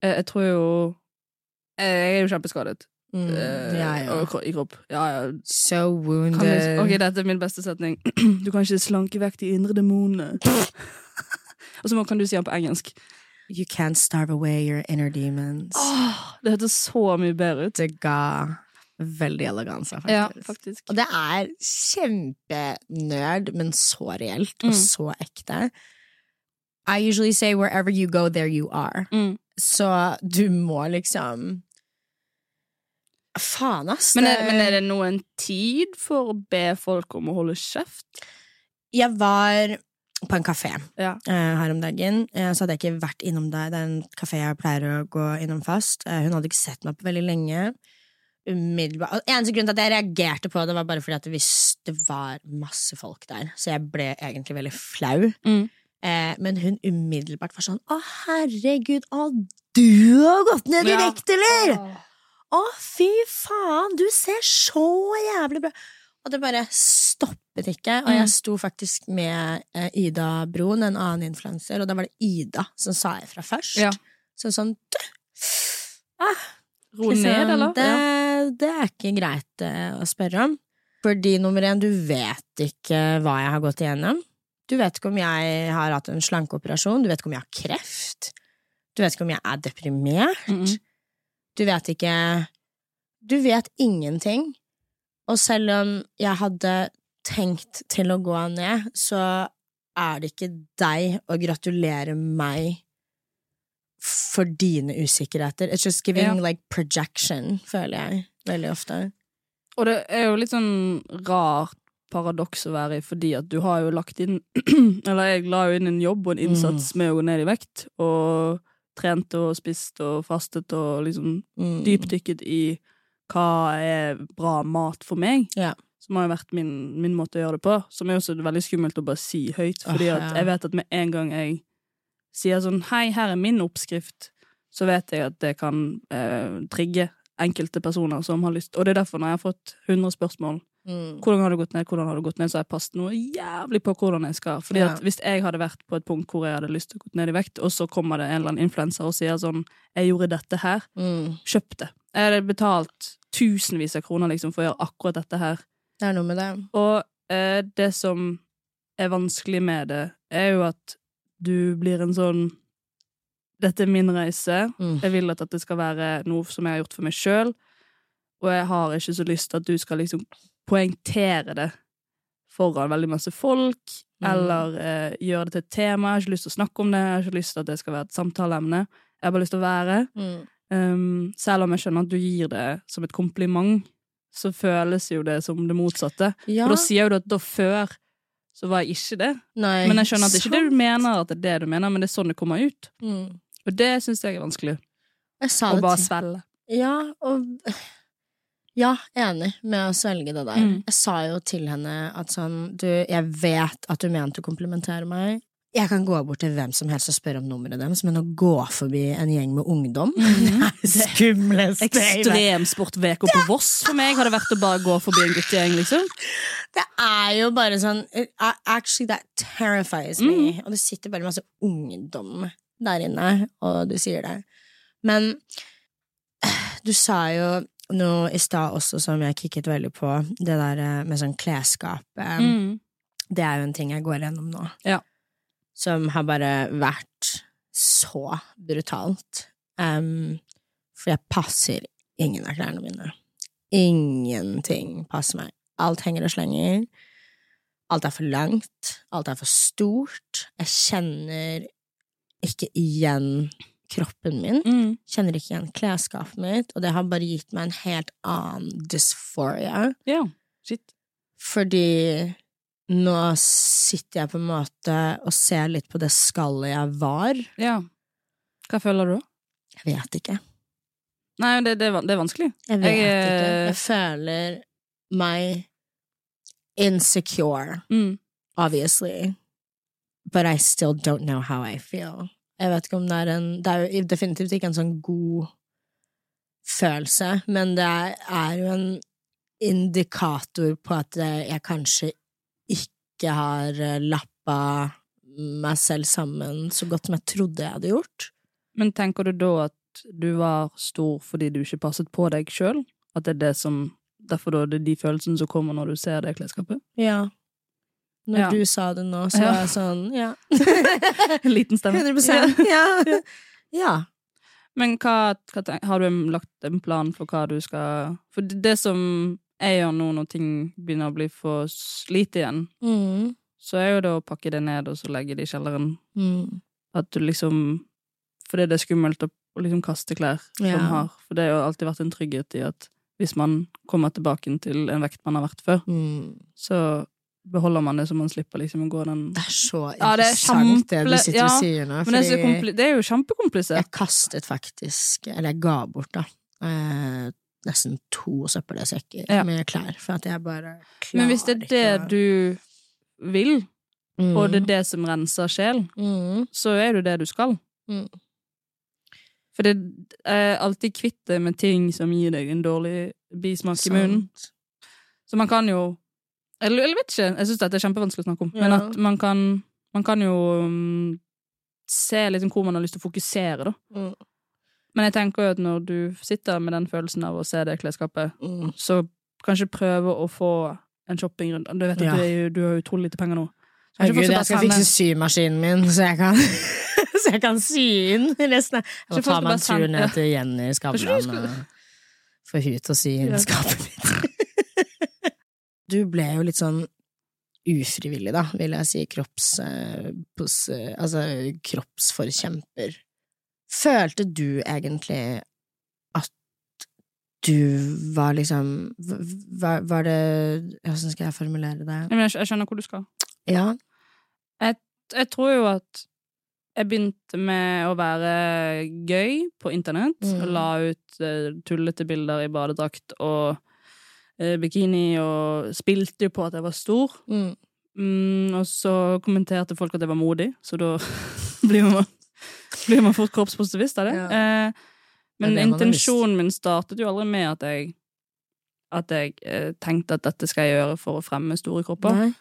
eh, jeg tror jo eh, Jeg er jo kjempeskadet Mm. eh, ja, ja. og kro- i kropp. Ja, ja. So Kan du, wounded. ok, dette er min beste setning. Du kan ikke slanke vekk de indre demonene. og så må- kan du si den på engelsk. You can't starve away your inner demons. Åh, det hørtes så mye bedre ut. Det ga veldig eleganse, faktisk. Ja, faktisk. Og det er kjempenerd, men så reelt og Mm. så ekte. I usually say wherever you go, there you are. Mm. Så du må liksom Faen, ass. Men er, men er det noen tid for å be folk om å holde kjeft? Jeg var på en kafé Ja. eh, her om dagen. Eh, så hadde jeg ikke vært innom deg. Det er en kafé jeg pleier å gå innom fast. Eh, hun hadde ikke sett meg på veldig lenge. Umiddelbart. og Eneste grunn til at jeg reagerte på det, var bare fordi at hvis det var masse folk der. Så jeg ble egentlig veldig flau. Mm. Eh, men hun umiddelbart var sånn Å, herregud, å, du har gått ned i Ja. vekt, eller? Å, fy faen, du ser så jævlig bra Og det bare stoppet ikke. Og jeg sto faktisk med eh, Ida Broen, en annen influenser, og da var det Ida som sa ifra først. Ja. Så sånn du, Ro liksom, ned, eller? Det, Ja. det er ikke greit eh, å spørre om. Fordi nummer én, du vet ikke hva jeg har gått igjennom. Du vet ikke om jeg har hatt en slankeoperasjon, du vet ikke om jeg har kreft. Du vet ikke om jeg er deprimert. Du vet ikke Du vet ingenting. Og selv om jeg hadde tenkt til å gå ned, så er det ikke deg å gratulere meg for dine usikkerheter. It's just giving Ja. like projection, føler jeg veldig ofte. Og det er jo litt sånn rart paradoks å være i, fordi at du har jo lagt inn Eller jeg la jo inn en jobb og en innsats med å gå ned i vekt, og trent og spist og fastet og liksom Mm. dypdykket i hva er bra mat for meg. Ja. Som har jo vært min, min måte å gjøre det på. Som er også veldig skummelt å bare si høyt. Fordi Åh, at ja. jeg vet at med en gang jeg sier sånn 'hei, her er min oppskrift', så vet jeg at det kan eh, trigge enkelte personer som har lyst. Og det er derfor når jeg har fått 100 spørsmål Mm. 'hvordan har du gått ned', hvordan har du gått ned, så har jeg passet noe jævlig på hvordan jeg skal. Fordi Ja. at hvis jeg hadde vært på et punkt hvor jeg hadde lyst til å gå ned i vekt, og så kommer det en eller annen influenser og sier sånn 'jeg gjorde dette her', Mm. kjøpt det. Jeg hadde betalt tusenvis av kroner liksom, for å gjøre akkurat dette her. Det er noe med det. Og eh, det som er vanskelig med det, er jo at du blir en sånn Dette er min reise. Mm. Jeg vil at dette skal være noe som jeg har gjort for meg sjøl. Og jeg har ikke så lyst til at du skal liksom poengtere det foran veldig masse folk, Mm. eller eh, gjøre det til et tema. Jeg har ikke lyst til å snakke om det, jeg har ikke lyst til at det skal være et samtaleemne. Jeg har bare lyst til å være. Mm. Um, selv om jeg skjønner at du gir det som et kompliment, så føles jo det som det motsatte. Ja. For da sier jo du at da før så var jeg ikke det. Nei. Men jeg skjønner at det er ikke det Sant. du mener, at det er det du mener, men det er sånn det kommer ut. Sånn. Mm. Og det syns jeg er vanskelig. Jeg sa Å det bare til- svelge. Ja, og Ja, enig med å svelge det der. Mm. Jeg sa jo til henne at sånn Du, jeg vet at du mente å komplimentere meg. Jeg kan gå bort til hvem som helst og spørre om nummeret deres, men å gå forbi en gjeng med ungdom Mm. Det er skumleste jeg vet. Ekstremsportveka på Voss for meg hadde vært å bare gå forbi en guttegjeng, liksom. Det er jo bare sånn it- a- Actually, that terrifies me. Og det sitter bare masse ungdom der inne, og du sier det. Men eh, du sa jo noe i stad også som jeg kikket veldig på, det der eh, med sånn klesskap. eh, Mm. Det er jo en ting jeg går gjennom nå. Ja. Som har bare vært så brutalt. Um, for jeg passer ingen av klærne mine. Ingenting passer meg. Alt henger og slenger. Alt er for langt. Alt er for stort. Jeg kjenner ikke igjen kroppen min. Mm. Kjenner ikke igjen klesskapet mitt. Og det har bare gitt meg en helt annen dysphoria. Ja. Shit. Fordi nå sitter jeg på en måte og ser litt på det skallet jeg var. Ja. Hva føler du da? Jeg vet ikke. Nei, det, det, er van- det er vanskelig. Jeg vet Jeg, eh, ikke. Jeg føler meg insecure, Mm. obviously. But I still don't know how I feel. Jeg vet ikke om det er en Det er jo definitivt ikke en sånn god følelse, men det er- er jo en indikator på at eh, jeg kanskje ikke har eh, lappa meg selv sammen så godt som jeg trodde jeg hadde gjort. Men tenker du da at du var stor fordi du ikke passet på deg sjøl? At det er det som Derfor da det er de følelsene som kommer når du ser det klesskapet? Ja. Når Ja. du sa det nå, så Ja. var jeg sånn Ja. En liten stemme. 100 Ja. ja. ja. Men hva, hva ten- har du en- lagt en plan for hva du skal For det, det som jeg gjør nå når ting begynner å bli for s- lite igjen, Mm. så er jo det å pakke det ned og så legge det i kjelleren. Mm. At du liksom Fordi det er skummelt å å liksom kaste klær Ja. som har For det har jo alltid vært en trygghet i at hvis man kommer tilbake til en vekt man har vært før, Mm. så beholder man det så man slipper liksom å gå den Det er så Ja, det er interessant, det, du kjempe- sitter ja, og sier nå. Men det er, så Fordi kompli det er jo kjempekomplisert. jeg kastet faktisk Eller jeg ga bort, da. Eh, nesten to søppelsekker Ja. med klær, for at jeg bare klarer Men hvis det er det ikke å- du vil, mm. og det er det som renser sjel, mm. så er det jo det du skal. Mm. For det er alltid kvitt deg med ting som gir deg en dårlig bismak Sånn. i munnen. Sant. Så man kan jo Eller, eller vet ikke, jeg syns dette er kjempevanskelig å snakke om, men Ja. at man kan, man kan jo mm, se liksom hvor man har lyst til å fokusere, da. Mm. Men jeg tenker jo at når du sitter med den følelsen av å se det klesskapet, Mm. så kanskje prøve å få en shoppingrunde. Du vet at Ja. du, er, jo- du har jo utrolig lite penger nå. Så kanskje Herregud, folk jeg skal fikse symaskinen min, så jeg kan så jeg kan sy inn resten av Jeg må Ikke ta først meg bare en tur send- ja. ned til Jenny Kanskje du Skavlan skulle- og få hun til å sy inn Ja. skapet mitt. du ble jo litt sånn ufrivillig, da, vil jeg si, kropps... eh, pos, eh, altså kroppsforkjemper. Følte du egentlig at du var liksom v- Var, var det Åssen skal jeg formulere det? Jeg, mener, jeg skjønner hvor du skal. Ja. Jeg tror jo at jeg begynte med å være gøy på internett. Mm. Og la ut eh, tullete bilder i badedrakt og eh, bikini, og spilte jo på at jeg var stor. Mm. Mm, og så kommenterte folk at jeg var modig, så da blir man, blir man fort kroppspositivist av det. Ja. Eh, men Det er det man har intensjonen min startet jo aldri med at jeg, at jeg eh, tenkte at dette skal jeg gjøre for å fremme store kropper. Nei.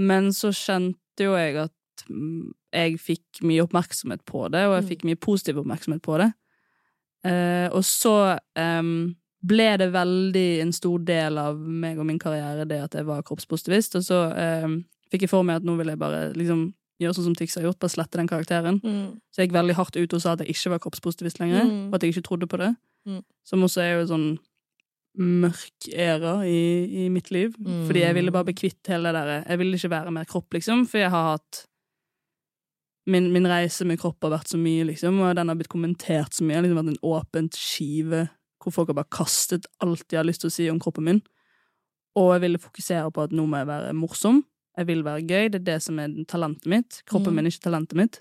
Men så kjente jo jeg at mm, jeg fikk mye oppmerksomhet på det, og jeg Mm. fikk mye positiv oppmerksomhet på det. Eh, og så em, ble det veldig en stor del av meg og min karriere det at jeg var kroppspositivist, og så em, fikk jeg for meg at nå vil jeg bare liksom gjøre sånn som Tix har gjort, bare slette den karakteren. Mm. Så jeg gikk veldig hardt ut og sa at jeg ikke var kroppspositivist lenger, Mm. og at jeg ikke trodde på det. Mm. Som også er jo en sånn mørk æra i, i mitt liv. Mm. Fordi jeg ville bare bli kvitt hele det derre Jeg ville ikke være mer kropp, liksom, for jeg har hatt Min, min reise med kropp har vært så mye, liksom, og den har blitt kommentert så mye. Jeg har liksom vært en åpent skive hvor folk har bare kastet alt de har lyst til å si om kroppen min. Og jeg ville fokusere på at nå må jeg være morsom. Jeg vil være gøy. Det er det som er talentet mitt. Kroppen Mm. min er ikke talentet mitt.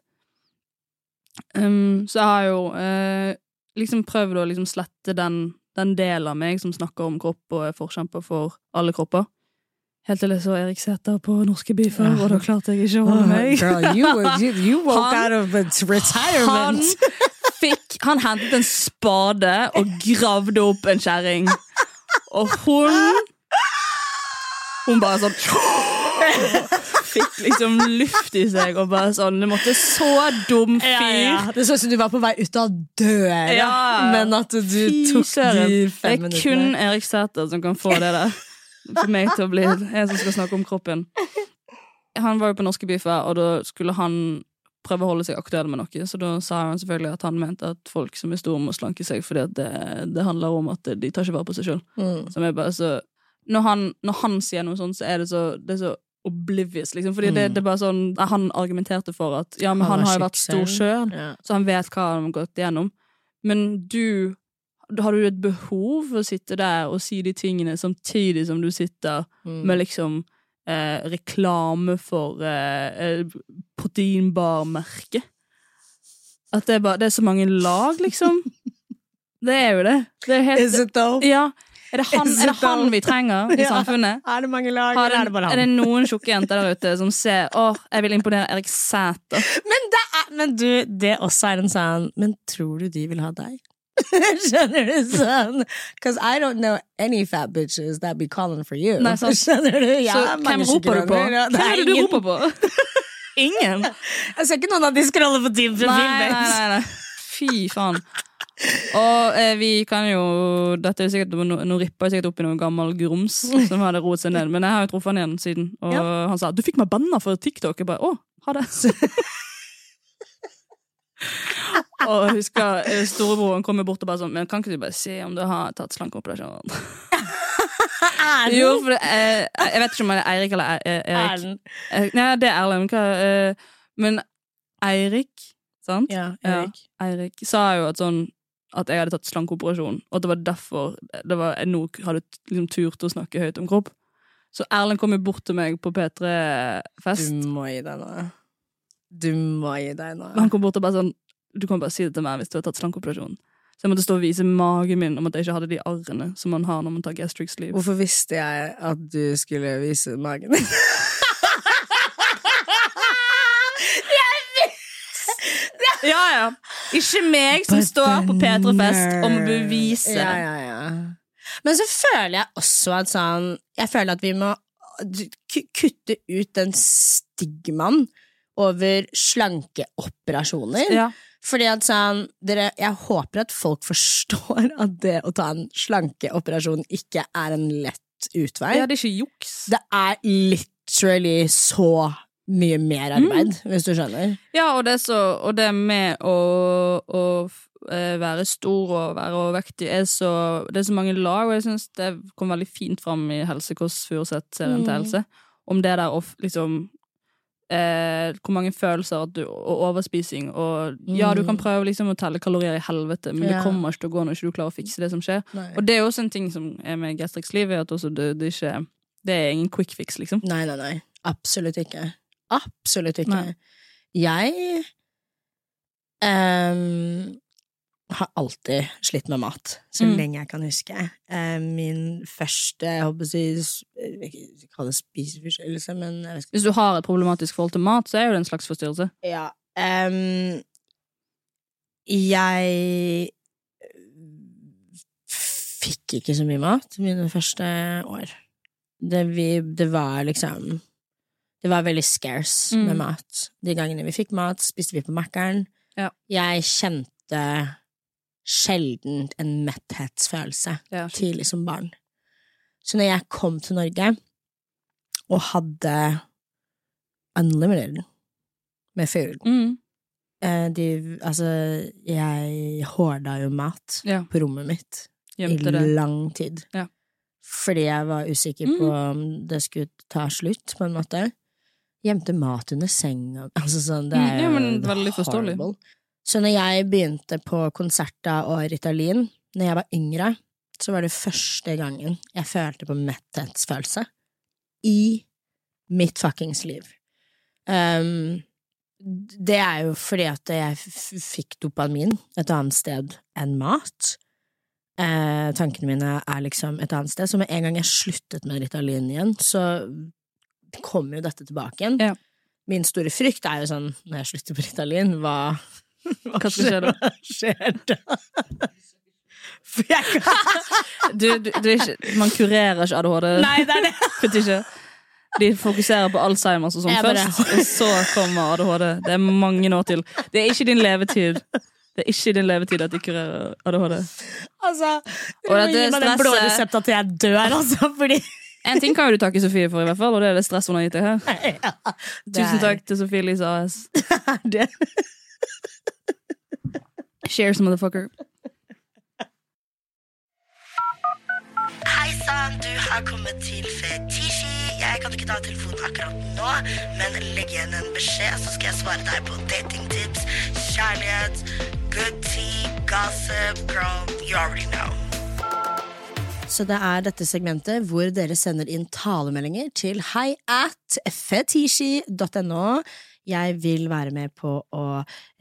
Um, så jeg har jo eh, liksom prøvd å liksom slette den, den delen av meg som snakker om kropp og er forkjemper for alle kropper. Helt til jeg så Erik Sæther på Norske Beefer, Ja. og da klarte jeg ikke å holde meg. Oh, Girl, you, were- you, you woke out Han- of retirement. Han fikk Han hentet en spade og gravde opp en kjerring. Og hun Hun bare sånn Fikk liksom luft i seg og bare sånn Det måtte så dum fyr. Ja, ja. Det så ut som du var på vei ut av døra, Ja. men at du Fy tok søren. de fem Det er kun minuttene. Erik Sæther som kan få det der. For meg til å bli en som skal snakke om kroppen. Han var jo på Norske Beefer, og da skulle han prøve å holde seg aktuell med noe. Så da sa han selvfølgelig at han mente at folk som er store, må slanke seg, fordi at det, det handler om at de tar ikke vare på seg sjøl. Mm. Som er bare så når han, når han sier noe sånt, så er det så, det er så oblivious, liksom. Fordi det, det er bare sånn Han argumenterte for at ja, men Mm. Han han, var har jo vært tjukk stor selv. sjøl, Ja. så han vet hva han har gått gjennom. Men du Har du et behov for å sitte der og si de tingene samtidig som du sitter Mm. med liksom eh, reklame for eh, eh, proteinbarmerket? At det er, bare, det er så mange lag, liksom. det er jo det. Det er helt Is it though? ja. Er det han, er det han vi trenger i Ja. samfunnet? Er det mange lag, Har eller er det det, bare er det han? noen tjukke jenter der ute som ser Åh, jeg vil imponere Erik Sæther? Men, det er, men du, det også er en sånn Men tror du de vil ha deg? Skjønner du sånn? Because I don't know any fat bitches that be calling for you. Nei, sant. Skjønner du? Jeg Så er hvem mange roper du på? tjukkeronger, ja. Hvem er det du ingen- roper på? Ingen? Jeg ser ikke noen av de scrolle på din Nei, profil. nei, babes. nei, nei. Fy faen. Og eh, vi kan jo Dette er jo sikkert Nå nå ripper jeg sikkert opp i noe gammel grums som hadde roet seg ned, men jeg har jo truffet han igjen siden. Og han sa 'du fikk meg banna for TikTok'. Jeg bare 'å, ha det'. Og jeg husker eh, storebroren kom jo bort og bare sånn Men kan ikke du bare se om du har tatt slankeoperasjon? Erlend. Jo, for eh, Jeg vet ikke om det er Eirik eller E- E- Erik. Erlend. Eh, Nei, det er Erlend. Hva, eh, men Eirik, sant? Ja, Ja, Erik. Eirik sa jo at sånn at jeg hadde tatt slankeoperasjon, og at det var derfor det var, jeg nå hadde liksom turt å snakke høyt om kropp. Så Erlend kom jo bort til meg på P3-fest, Du må gi deg nå. Du må gi deg nå. og han kom bort og bare sånn Du kan bare si det til meg hvis du har tatt slankeoperasjon. Så jeg måtte stå og vise magen min om at jeg ikke hadde de arrene som man har når man tar gastric sleeve. Hvorfor visste jeg at du skulle vise magen din? Ja, ja. Ikke meg som står på P3-fest og må bevise. Ja, ja, ja. Men så føler jeg også at sånn Jeg føler at vi må ku- kutte ut den stigmaen over slankeoperasjoner. Ja. Fordi at sånn, dere, Jeg håper at folk forstår at det å ta en slankeoperasjon ikke er en lett utvei. Ja, det er ikke juks. Det er literally så mye mer arbeid, Mm. hvis du skjønner. Ja, og det, så, og det med å, å f- eh, være stor og være overvektig er så, Det er så mange lag, og jeg syns det kom veldig fint fram i Helse Kåss Furuseth-serien til Helse. Om det der å f- liksom eh, Hvor mange følelser at du, og overspising og Ja, du kan prøve liksom å telle kalorier i helvete, men Ja. det kommer ikke til å gå når ikke du klarer å fikse det som skjer. Nei. Og det er jo også en ting som er med Gastrix liv, er at også det, det, er ikke, det er ingen quick fix, liksom. Nei, nei, nei. Absolutt ikke. Absolutt ikke. Nei. Jeg ehm, har alltid slitt med mat, så Mm. lenge jeg kan huske. Eh, min første, jeg håper å si, s- jeg vil ikke kalle det spiseforstyrrelse, men jeg vet ikke Hvis du har et problematisk forhold til mat, så er jo det en slags forstyrrelse. Ja. ehm, jeg fikk ikke så mye mat mine første år. Det, vi, det var liksom Det var veldig scarce med Mm. mat. De gangene vi fikk mat, spiste vi på Mækkern. Ja. Jeg kjente sjelden en metthetsfølelse Ja, tidlig som barn. Så når jeg kom til Norge og hadde Unlimited med fuel Mm. eh, de, Altså, jeg horda jo mat Ja. på rommet mitt Gjemte i det. lang tid. Ja. Mm. Fordi jeg var usikker på om det skulle ta slutt, på en måte. Gjemte mat under senga. Altså sånn, det Mm, er ja, men jo veldig forståelig. horrible. Så når jeg begynte på konserter og Ritalin, når jeg var yngre, så var det første gangen jeg følte på metthetsfølelse i mitt fuckings liv. Um, det er jo fordi at jeg f- fikk dopamin et annet sted enn mat. Eh, tankene mine er liksom et annet sted. Så med en gang jeg sluttet med Ritalin igjen, så kommer jo dette tilbake igjen. Ja. Min store frykt er jo sånn, når jeg slutter på Ritalin, hva Hva skal skje da? Hva skjer da? For jeg kan Du, du, du er ikke, man kurerer ikke ADHD. Nei, det er det! Vet ikke. De fokuserer på Alzheimers og sånn Jeg bare- først, og så kommer ADHD. Det er mange år til. Det er ikke din levetid. Det er ikke din levetid at de kurerer ADHD. Altså, du Og må dette gi meg den blå stresset- resepta til jeg dør, altså, fordi En ting kan jo du takke Sofie for, i hvert fall, og det er det stress hun har gitt deg her. ja, det Tusen er- takk til Sofie Elise AS. er det. Cheers, motherfucker. Hei sann, du har kommet til Fetisji. Jeg kan ikke ta telefonen akkurat nå, men legg igjen en beskjed, så skal jeg svare deg på datingtips, kjærlighet, good tea, gossip, girl, you already know. Så det er dette segmentet hvor dere sender inn talemeldinger til hei at fetishi.no. Jeg vil være med på å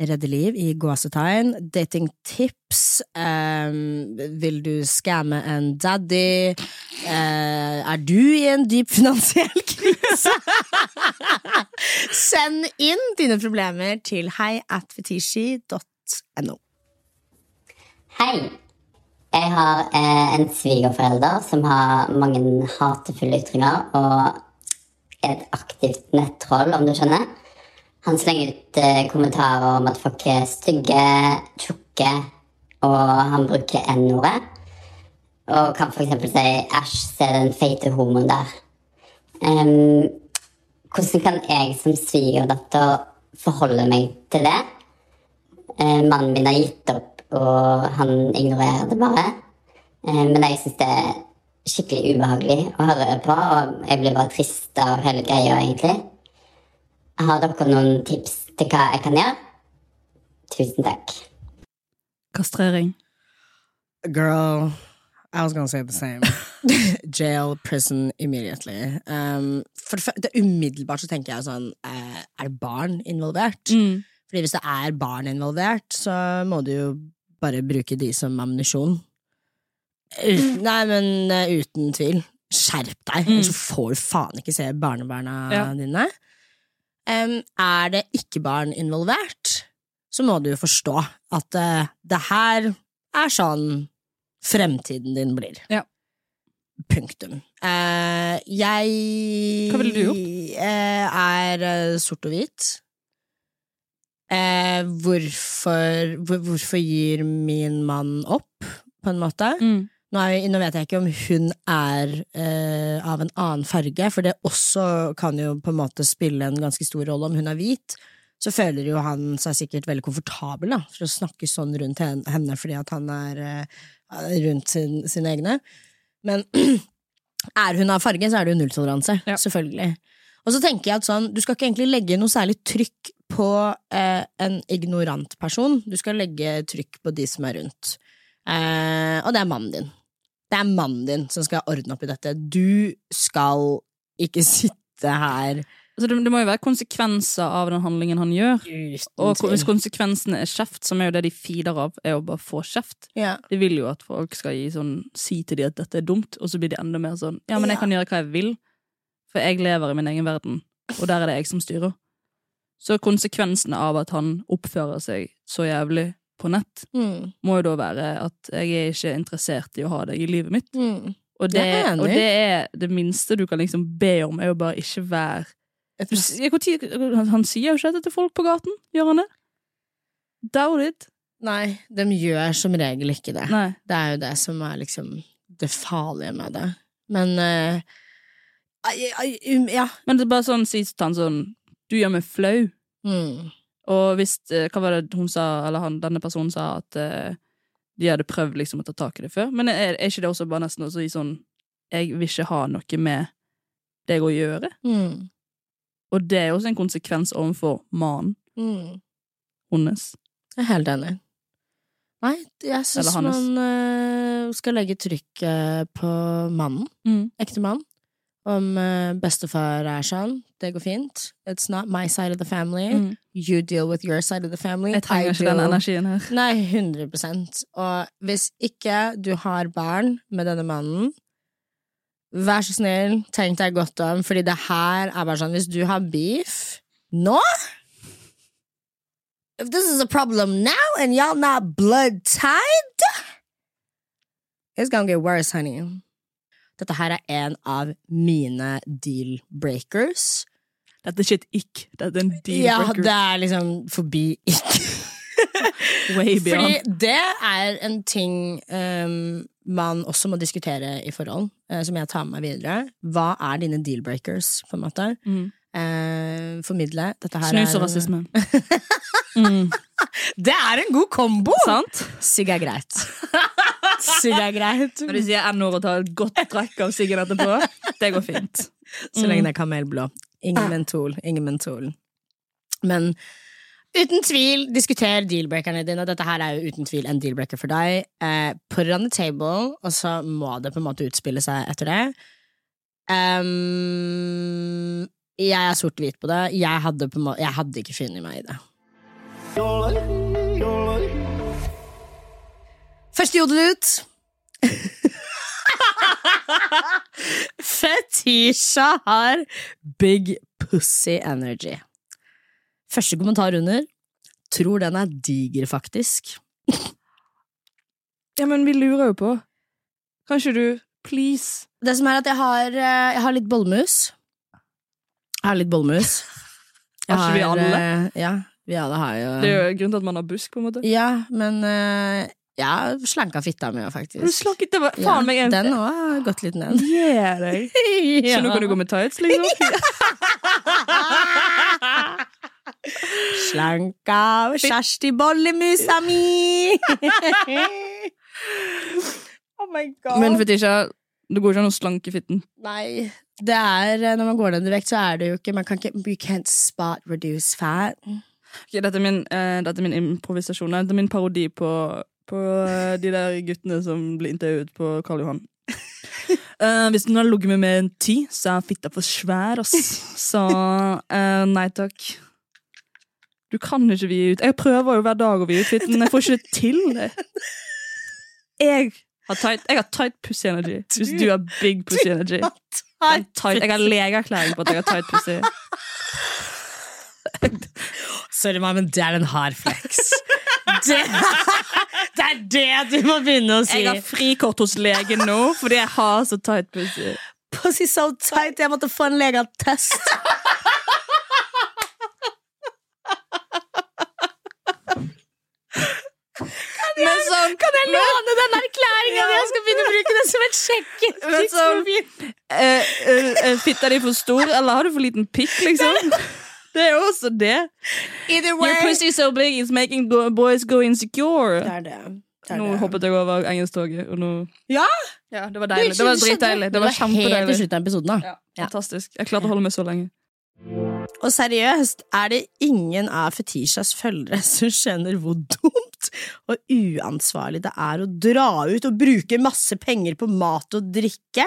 redde liv i gåsetegn. Datingtips. ehm, vil du skamme en daddy? Eh, er du i en dyp finansiell krise? Send inn dine problemer til hei at fetishi.no. Hei. Jeg har eh, en svigerforelder som har mange hatefulle ytringer og er et aktivt nettroll, om du skjønner. Han slenger ut eh, kommentarer om at folk er stygge, tjukke, og han bruker N-ordet. Og kan f.eks. si 'æsj, se den feite homoen der'. Em, hvordan kan jeg som svigerdatter forholde meg til det? Eh, mannen min har gitt opp, og han ignorerer det bare. Eh, men jeg syns det er skikkelig ubehagelig å høre på, og jeg blir bare trist av hele greia, egentlig. Har dere noen tips til hva jeg kan gjøre? Tusen takk. Kastrering. Girl, I was gonna say the same. Jail, prison, immediately. Um, for det fø- det umiddelbart så tenker jeg sånn eh, Er det barn involvert? Mm. Fordi hvis det er barn involvert, så må du jo bare bruke de som ammunisjon. Uten- Mm. Nei, men eh, uten tvil. Skjerp deg, ellers så får du faen ikke se barnebarna Ja. dine. Em, er det ikke barn involvert, så må du jo forstå at eh, det her er sånn fremtiden din blir. Ja. Punktum. Eh, jeg Hva ville du eh, er eh, sort og hvit. Eh, hvorfor, hvor, hvorfor gir min mann opp, på en måte? Mm. Nå, er, jo- nå vet jeg ikke om hun er eh, av en annen farge, for det også kan jo på en måte spille en ganske stor rolle om hun er hvit. Så føler jo han seg sikkert veldig komfortabel da, for å snakke sånn rundt hen- henne fordi at han er eh, rundt sin, sine egne. Men er hun av farge, så er det jo nulltoleranse. Ja. Selvfølgelig. Og så tenker jeg at sånn, Du skal ikke egentlig legge noe særlig trykk på eh, en ignorant person. Du skal legge trykk på de som er rundt. Eh, og det er mannen din. Det er mannen din som skal ordne opp i dette. Du skal ikke sitte her Altså, det, det må jo være konsekvenser av den handlingen han gjør. Og ko- uten hvis konsekvensene er kjeft, som er jo det de filer av, er å bare få kjeft. Ja. De vil jo at folk skal gi sånn, si til dem at dette er dumt, og så blir de enda mer sånn Ja, men jeg Ja. kan gjøre hva jeg vil, for jeg lever i min egen verden, og der er det jeg som styrer. Så konsekvensene av at han oppfører seg så jævlig på nett, Mm, må jo da være at jeg er ikke interessert i å ha deg i livet mitt. mm. Og det, Jeg er enig. og det er det minste du kan liksom be om, er jo bare ikke være Et du, rass- ja, hvor tid, han, han sier jo ikke dette til folk på gaten, gjør han det? Doubt it. Nei, de gjør som regel ikke det. Nei. Det er jo det som er liksom det farlige med det. Men eh, ai, ai, um, Ja. Men det er bare sånn, sier til han sånn Du gjør meg flau. Mm. Og hvis eh, Hva var det hun sa, eller han, denne personen sa, at eh, de hadde prøvd liksom å ta tak i det før? Men er, er ikke det også bare nesten å si sånn Jeg vil ikke ha noe med deg å gjøre? Mm. Og det er også en konsekvens overfor mannen Mm. hennes. Jeg er helt enig. Nei, jeg syns Eller man hans. eh, skal legge trykket på mannen. Mm. Ekte mann. Om eh, bestefar er sånn, det går fint. It's not my side of the family. Mm. You deal with your side of the family. Jeg trenger I ikke den deal- energien her. Nei, 100 Og hvis ikke du har barn med denne mannen, vær så snill, tenk deg godt om, fordi det her er bare sånn Hvis du har beef nå If this is a problem now, and y'all not blood tied It's gonna get worse, honey. Dette her er en av mine deal breakers. Dette er ikke et ikk. Dette er en Ja, deal-breaker. det er liksom forbi ikke. Way beyond. Fordi det er en ting ehm, man også må diskutere i forhold, eh, som jeg tar med meg videre. Hva er dine deal-breakers, på en måte? Mm. Eh, formidle. Dette her Snus er- og rasisme. mm. Det er en god kombo! Sant? Sigg er greit. Sigg er greit. Når du sier N-ord og tar et godt trekk av siggen etterpå, det går fint. Så lenge det er kamelblå. Ingen mentol. Ingen mentol. Men uten tvil, diskuter dealbreakerne dine. Dette her er jo uten tvil en dealbreaker for deg. Eh, put it on the table, og så må det på en måte utspille seg etter det. Ehm, jeg er sort-hvit på det. Jeg hadde, på en måte, jeg hadde ikke funnet meg i det. Første jodelut. Fetisha har big pussy energy. Første kommentar under. Tror den er diger, faktisk. Ja, men vi lurer jo på. Kan ikke du please Det som er at jeg har, eh, jeg har litt bollmus. Jeg har litt bollmus. Jeg Har ikke vi alle? eh, Ja, vi alle har jo Det er jo grunnen til at man har busk, på en måte. Ja, men eh, jeg har slanka fitta mi, faktisk. Du slakket det var Ja, faen meg en Den òg har gått litt ned. Yeah, deg. Så nå kan du gå med tights, liksom? Slanka Kjersti Bollemusa mi! oh my god. Men Fetisha, det går ikke an å slanke fitten. Nei. Det er, eh, når man går ned i vekt, så er det jo ikke Man kan ikke You can't spot reduce fat. Ok, dette, er min, eh, dette er min improvisasjon. Nei, Dette er min parodi på, på eh, de der guttene som ble intervjuet på Karl Johan. Eh, hvis noen har ligget med med en ti, så er fitta for svær, ass. Så eh, nei takk. Du kan ikke vide ut. Jeg prøver jo hver dag å vide ut fitten, men jeg får ikke det til. Jeg har tight, jeg har tight pussy energy. Hvis du har big pussy energy. Jeg har tight- Jeg har legeerklæring på at jeg har tight pussy. Sorry, meg, men det er en hard flex. det, det er det du må begynne å si. Jeg har frikort hos legen nå fordi jeg har så tight pussy. pussy so tight, jeg måtte få en legeattest. Men sånn, Kan jeg låne den erklæringa di? Jeg skal begynne å bruke den som et Men så- sjekketriks. Eh, eh, eh, Fitta di for stor, eller har du for liten pikk, liksom? Det er jo også det. Either Your pussy so big is making go boys go Det insecure. er det. det, er Nå det. hoppet jeg over engelsktoget, og nå Ja! Ja, det var deilig. Det var dritdeilig. Det var Helt til kjempedeilig. slutten av episoden, da. Ja, fantastisk. Jeg klarte å holde meg så lenge. Og seriøst, er det ingen av Fetishas følgere som skjønner hvor dumt og uansvarlig det er å dra ut og bruke masse penger på mat og drikke,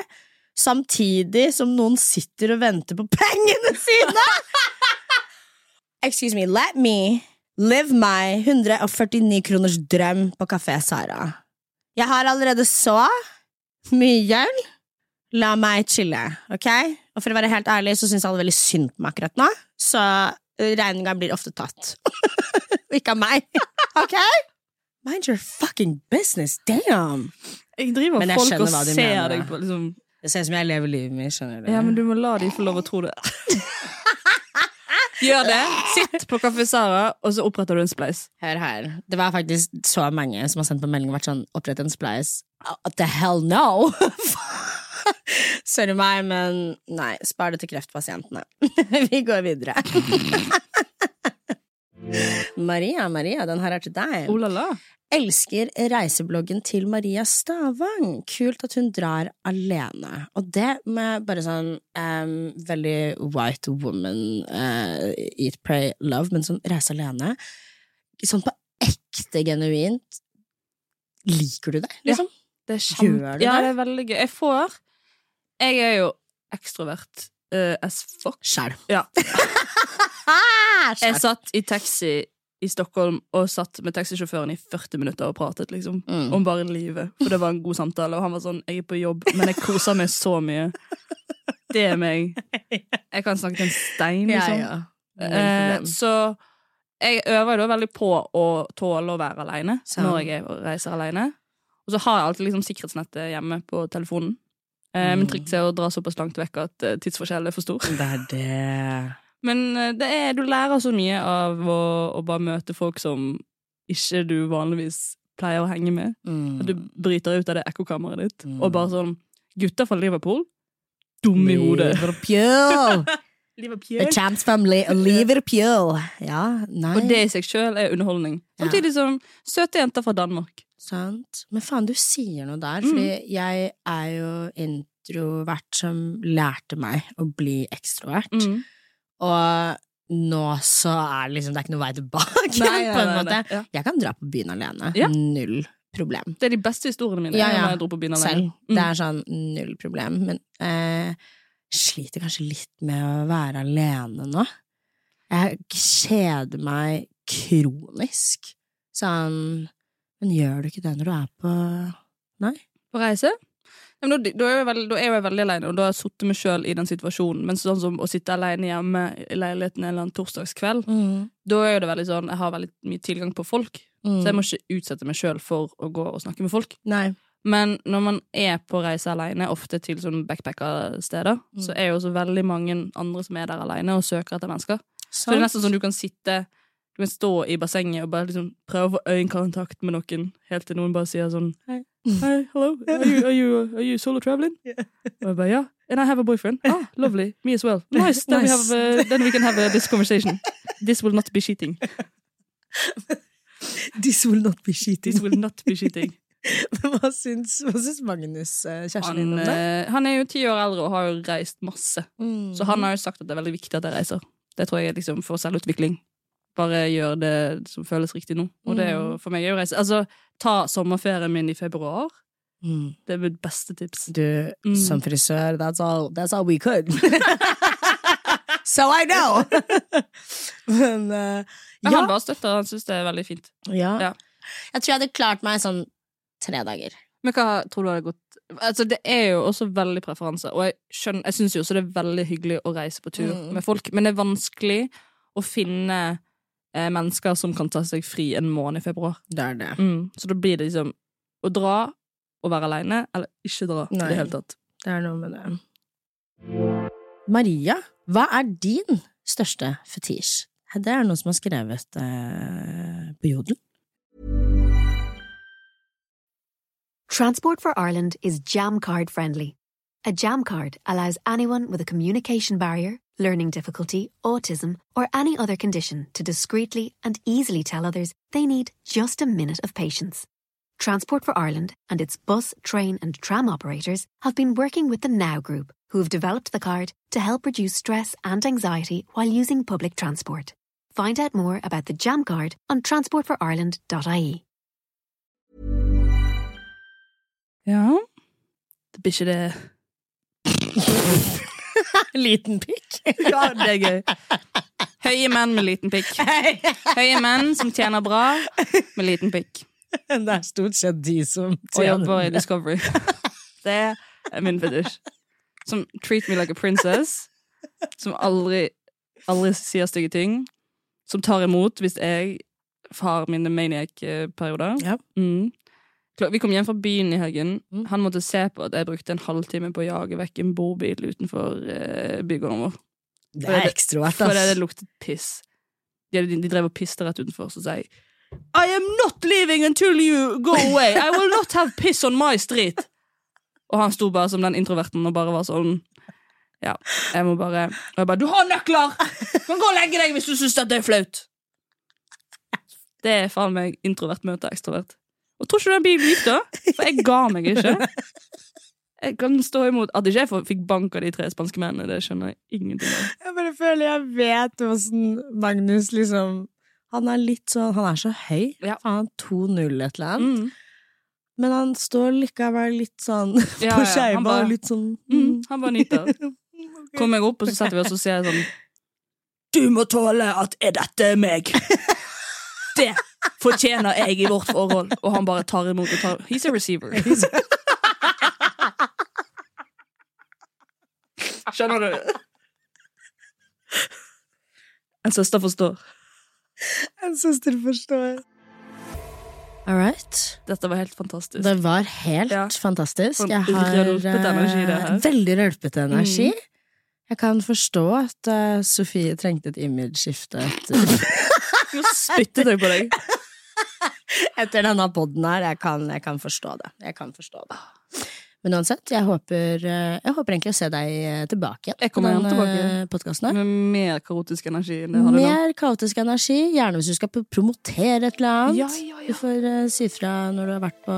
samtidig som noen sitter og venter på pengene sine? Excuse me, let me live my 149 kroners drøm på Kafé Sara. Jeg har allerede så mye gjeld. La meg chille, ok? Og for å være helt ærlig, så syns alle veldig synd på meg akkurat nå. Så eh, regninga blir ofte tatt. Og ikke av meg. Ok? Mind your fucking business, damn! Jeg driver Men jeg folk skjønner og hva du ser mener, deg da. på liksom. Det ser ut som jeg lever livet mitt, skjønner du. Ja, men du må la de få lov å tro det. Gjør det. Sitt på Kafé Sara, og så oppretter du en spleis. Hør her. Det var faktisk så mange som har sendt på melding og vært sånn opprett en spleis. Oh, the hell no! Sorry meg, men nei. Spar det til kreftpasientene. Vi går videre. Maria, Maria, den her er til deg. Oh la la. Elsker reisebloggen til Maria Stavang. Kult at hun drar alene. Og det med bare sånn em, veldig white woman, eh, eat, pray, love, men sånn reise alene. Sånn på ekte genuint. Liker du det, Ja. liksom? Det er Gjør kjempe... du Ja, det? det er veldig gøy. Jeg får Jeg er jo ekstrovert eh, as fuck. Sjæl. Ja. Sjæl. Jeg satt i taxi i Stockholm og satt med taxisjåføren i 40 minutter og pratet liksom Mm. om bare livet. For det var en god samtale, og han var sånn 'Jeg er på jobb, men jeg koser meg så mye'. Det er meg. Jeg kan snakke til en stein, Ja, liksom. ja. Eh, så jeg øver jo da veldig på å tåle å være aleine Sant. når jeg er- reiser aleine. Og så har jeg alltid liksom sikkerhetsnettet hjemme på telefonen. Eh, Mm. Men trikset er å dra såpass langt vekk at eh, tidsforskjellen er for stor. Det er det. Men eh, det er, du lærer så mye av å, å bare møte folk som ikke du vanligvis pleier å henge med. Mm. At du bryter ut av det ekkokammeret ditt, Mm. og bare sånn Gutter fra Liverpool, Mm. dumme i hodet. Liverpool! Liverpool. A chance from Li- Liverpool. Ja, nei. Og det i seg sjøl er underholdning. Ja. Samtidig som søte jenter fra Danmark. Sant. Men faen, du sier noe der, Mm. fordi jeg er jo introvert som lærte meg å bli ekstrovert. Mm. Og nå så er det liksom Det er ikke noe vei tilbake, på en måte. Ja. Jeg kan dra på byen alene. Ja. Null problem. Det er de beste historiene mine. Ja, ja. når jeg dro på byen alene. Selv. Mm. Det er sånn null problem. Men eh, sliter kanskje litt med å være alene nå. Jeg kjeder meg kronisk. Sånn Men gjør du ikke det når du er på På reise? Ja, men da, da, er jeg veldig, da er jeg veldig alene, og da har jeg sittet meg sjøl i den situasjonen. Men sånn som å sitte alene hjemme i leiligheten en eller annen torsdagskveld, da er jo det veldig sånn Jeg har veldig mye tilgang på folk, Mm. så jeg må ikke utsette meg sjøl for å gå og snakke med folk. Nei. Men når man er på reise alene, ofte til sånn backpackersteder, så er jo også veldig mange andre som er der alene og søker etter mennesker. Så det er nesten sånn du kan sitte Du kan stå i bassenget og bare liksom prøve å få øyekontakt med noen, helt til noen bare sier sånn Hei, Hei hello, are you, are you, are you solo traveling? Og jeg bare ja. And I have a boyfriend. Ah, lovely. Me as well. Nice. Then, Nice. We, have, uh, then we can have uh, this conversation. This will not be cheating. This will not be This cheating. will not be cheating. hva, syns, hva syns Magnus, eh, kjæresten Han, din, om det? eh, han er jo ti år eldre og har jo reist masse. Mm. Så han har jo sagt at det er veldig viktig at jeg reiser. Det tror jeg er liksom for selvutvikling. Bare gjør det som føles riktig nå. Og det er jo for meg er jo reise. Altså, ta sommerferien min i februar. Mm. Det er mitt beste tips. Du, Mm. som frisør, that's all, that's all we could. so I know! Men eh, Men ja. han bare støtter, han syns det er veldig fint. ja. Ja. Jeg tror jeg hadde klart meg sånn tre dager. Men hva tror du hadde gått Altså, det er jo også veldig preferanser, og jeg skjønner Jeg syns jo også det er veldig hyggelig å reise på tur Mm. med folk, men det er vanskelig å finne eh, mennesker som kan ta seg fri en måned i februar. Det er det. Mm. Så da blir det liksom å dra og være aleine, eller ikke dra i Nei. det hele tatt. Det er noe med det. Maria, hva er din største fetisj? Det er noen som har skrevet eh, på Jodel. Transport for Ireland is jam card friendly. A jam card allows anyone with a communication barrier, learning difficulty, autism, or any other condition to discreetly and easily tell others they need just a minute of patience. Transport for Ireland and its bus, train, and tram operators have been working with the Now Group, who have developed the card to help reduce stress and anxiety while using public transport. Find out more about the Jam Card on transportforireland.ie. Ja. Det blir ikke det Liten pikk. Ja, det er gøy. Høye menn med liten pikk. Høye menn som tjener bra med liten pikk. Det er stort sett de som Og jobber i Discovery. Det er min fetisj. Som treat me like a princess. Som aldri, aldri sier stygge ting. Som tar imot hvis jeg har mine maniac-perioder. Ja. Mm. Kla- Vi kom hjem fra byen i helgen. Han måtte se på at jeg brukte en halvtime på å jage vekk en bobil utenfor eh, bygården vår. Det For er det- ekstrovert, For det ass. luktet piss. De, de, de drev og piste rett utenfor, så sa jeg I am not leaving until you go away. I will not have piss on my street. Og han sto bare som den introverten og bare var sånn Ja, jeg må bare Og jeg bare Du har nøkler! Du kan gå og legge deg hvis du syns dette er flaut. Det er faen meg introvert møter ekstrovert. Og tror ikke du den bilen gikk, da? For jeg ga meg ikke. Jeg kan stå imot At ikke jeg får- fikk bank av de tre spanske mennene, det skjønner jeg ingenting av. Jeg bare føler jeg vet hvordan Magnus liksom Han er litt sånn Han er så høy. Ja. Han er 2-0 et eller annet. Mm. Men han står likevel litt sånn på Ja, ja, han skeiva bare- og litt sånn Mm, han bare nyter. Ok. Kom jeg opp, og så setter vi oss og ser sånn Du må tåle at er dette meg? Det fortjener jeg i vårt forhold. Og han bare tar imot og tar He's a receiver. Skjønner du? En søster forstår. En søster forstår. All right. Dette var helt fantastisk. Det var helt Ja. fantastisk. For en Jeg har rølpete eh, energi, det her. Mm. Veldig rølpete energi. Jeg kan forstå at eh, Sofie trengte et imageskifte etter, Nå spyttet jeg på deg. etter denne poden her. Jeg kan, jeg kan forstå det. Jeg kan forstå det. Men uansett, jeg håper, eh, jeg håper egentlig å se deg eh, tilbake igjen Jeg kommer Mm, gjerne eh, podcasten her. Med mer kaotisk energi enn det jeg hadde nå. Mer kaotisk energi, gjerne hvis du skal promotere et eller annet. Ja, ja, ja. Du får eh, si fra når du har vært på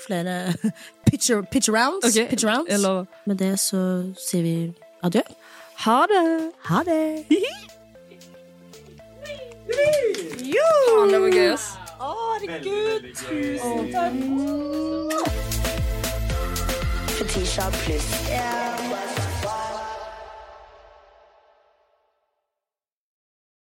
flere pitch, pitch rounds. Ok, pitch rounds. jeg lover. Med det så sier vi adjø. Ha det! Ha det! Faen, det var gøy, ass. Fetisha pluss.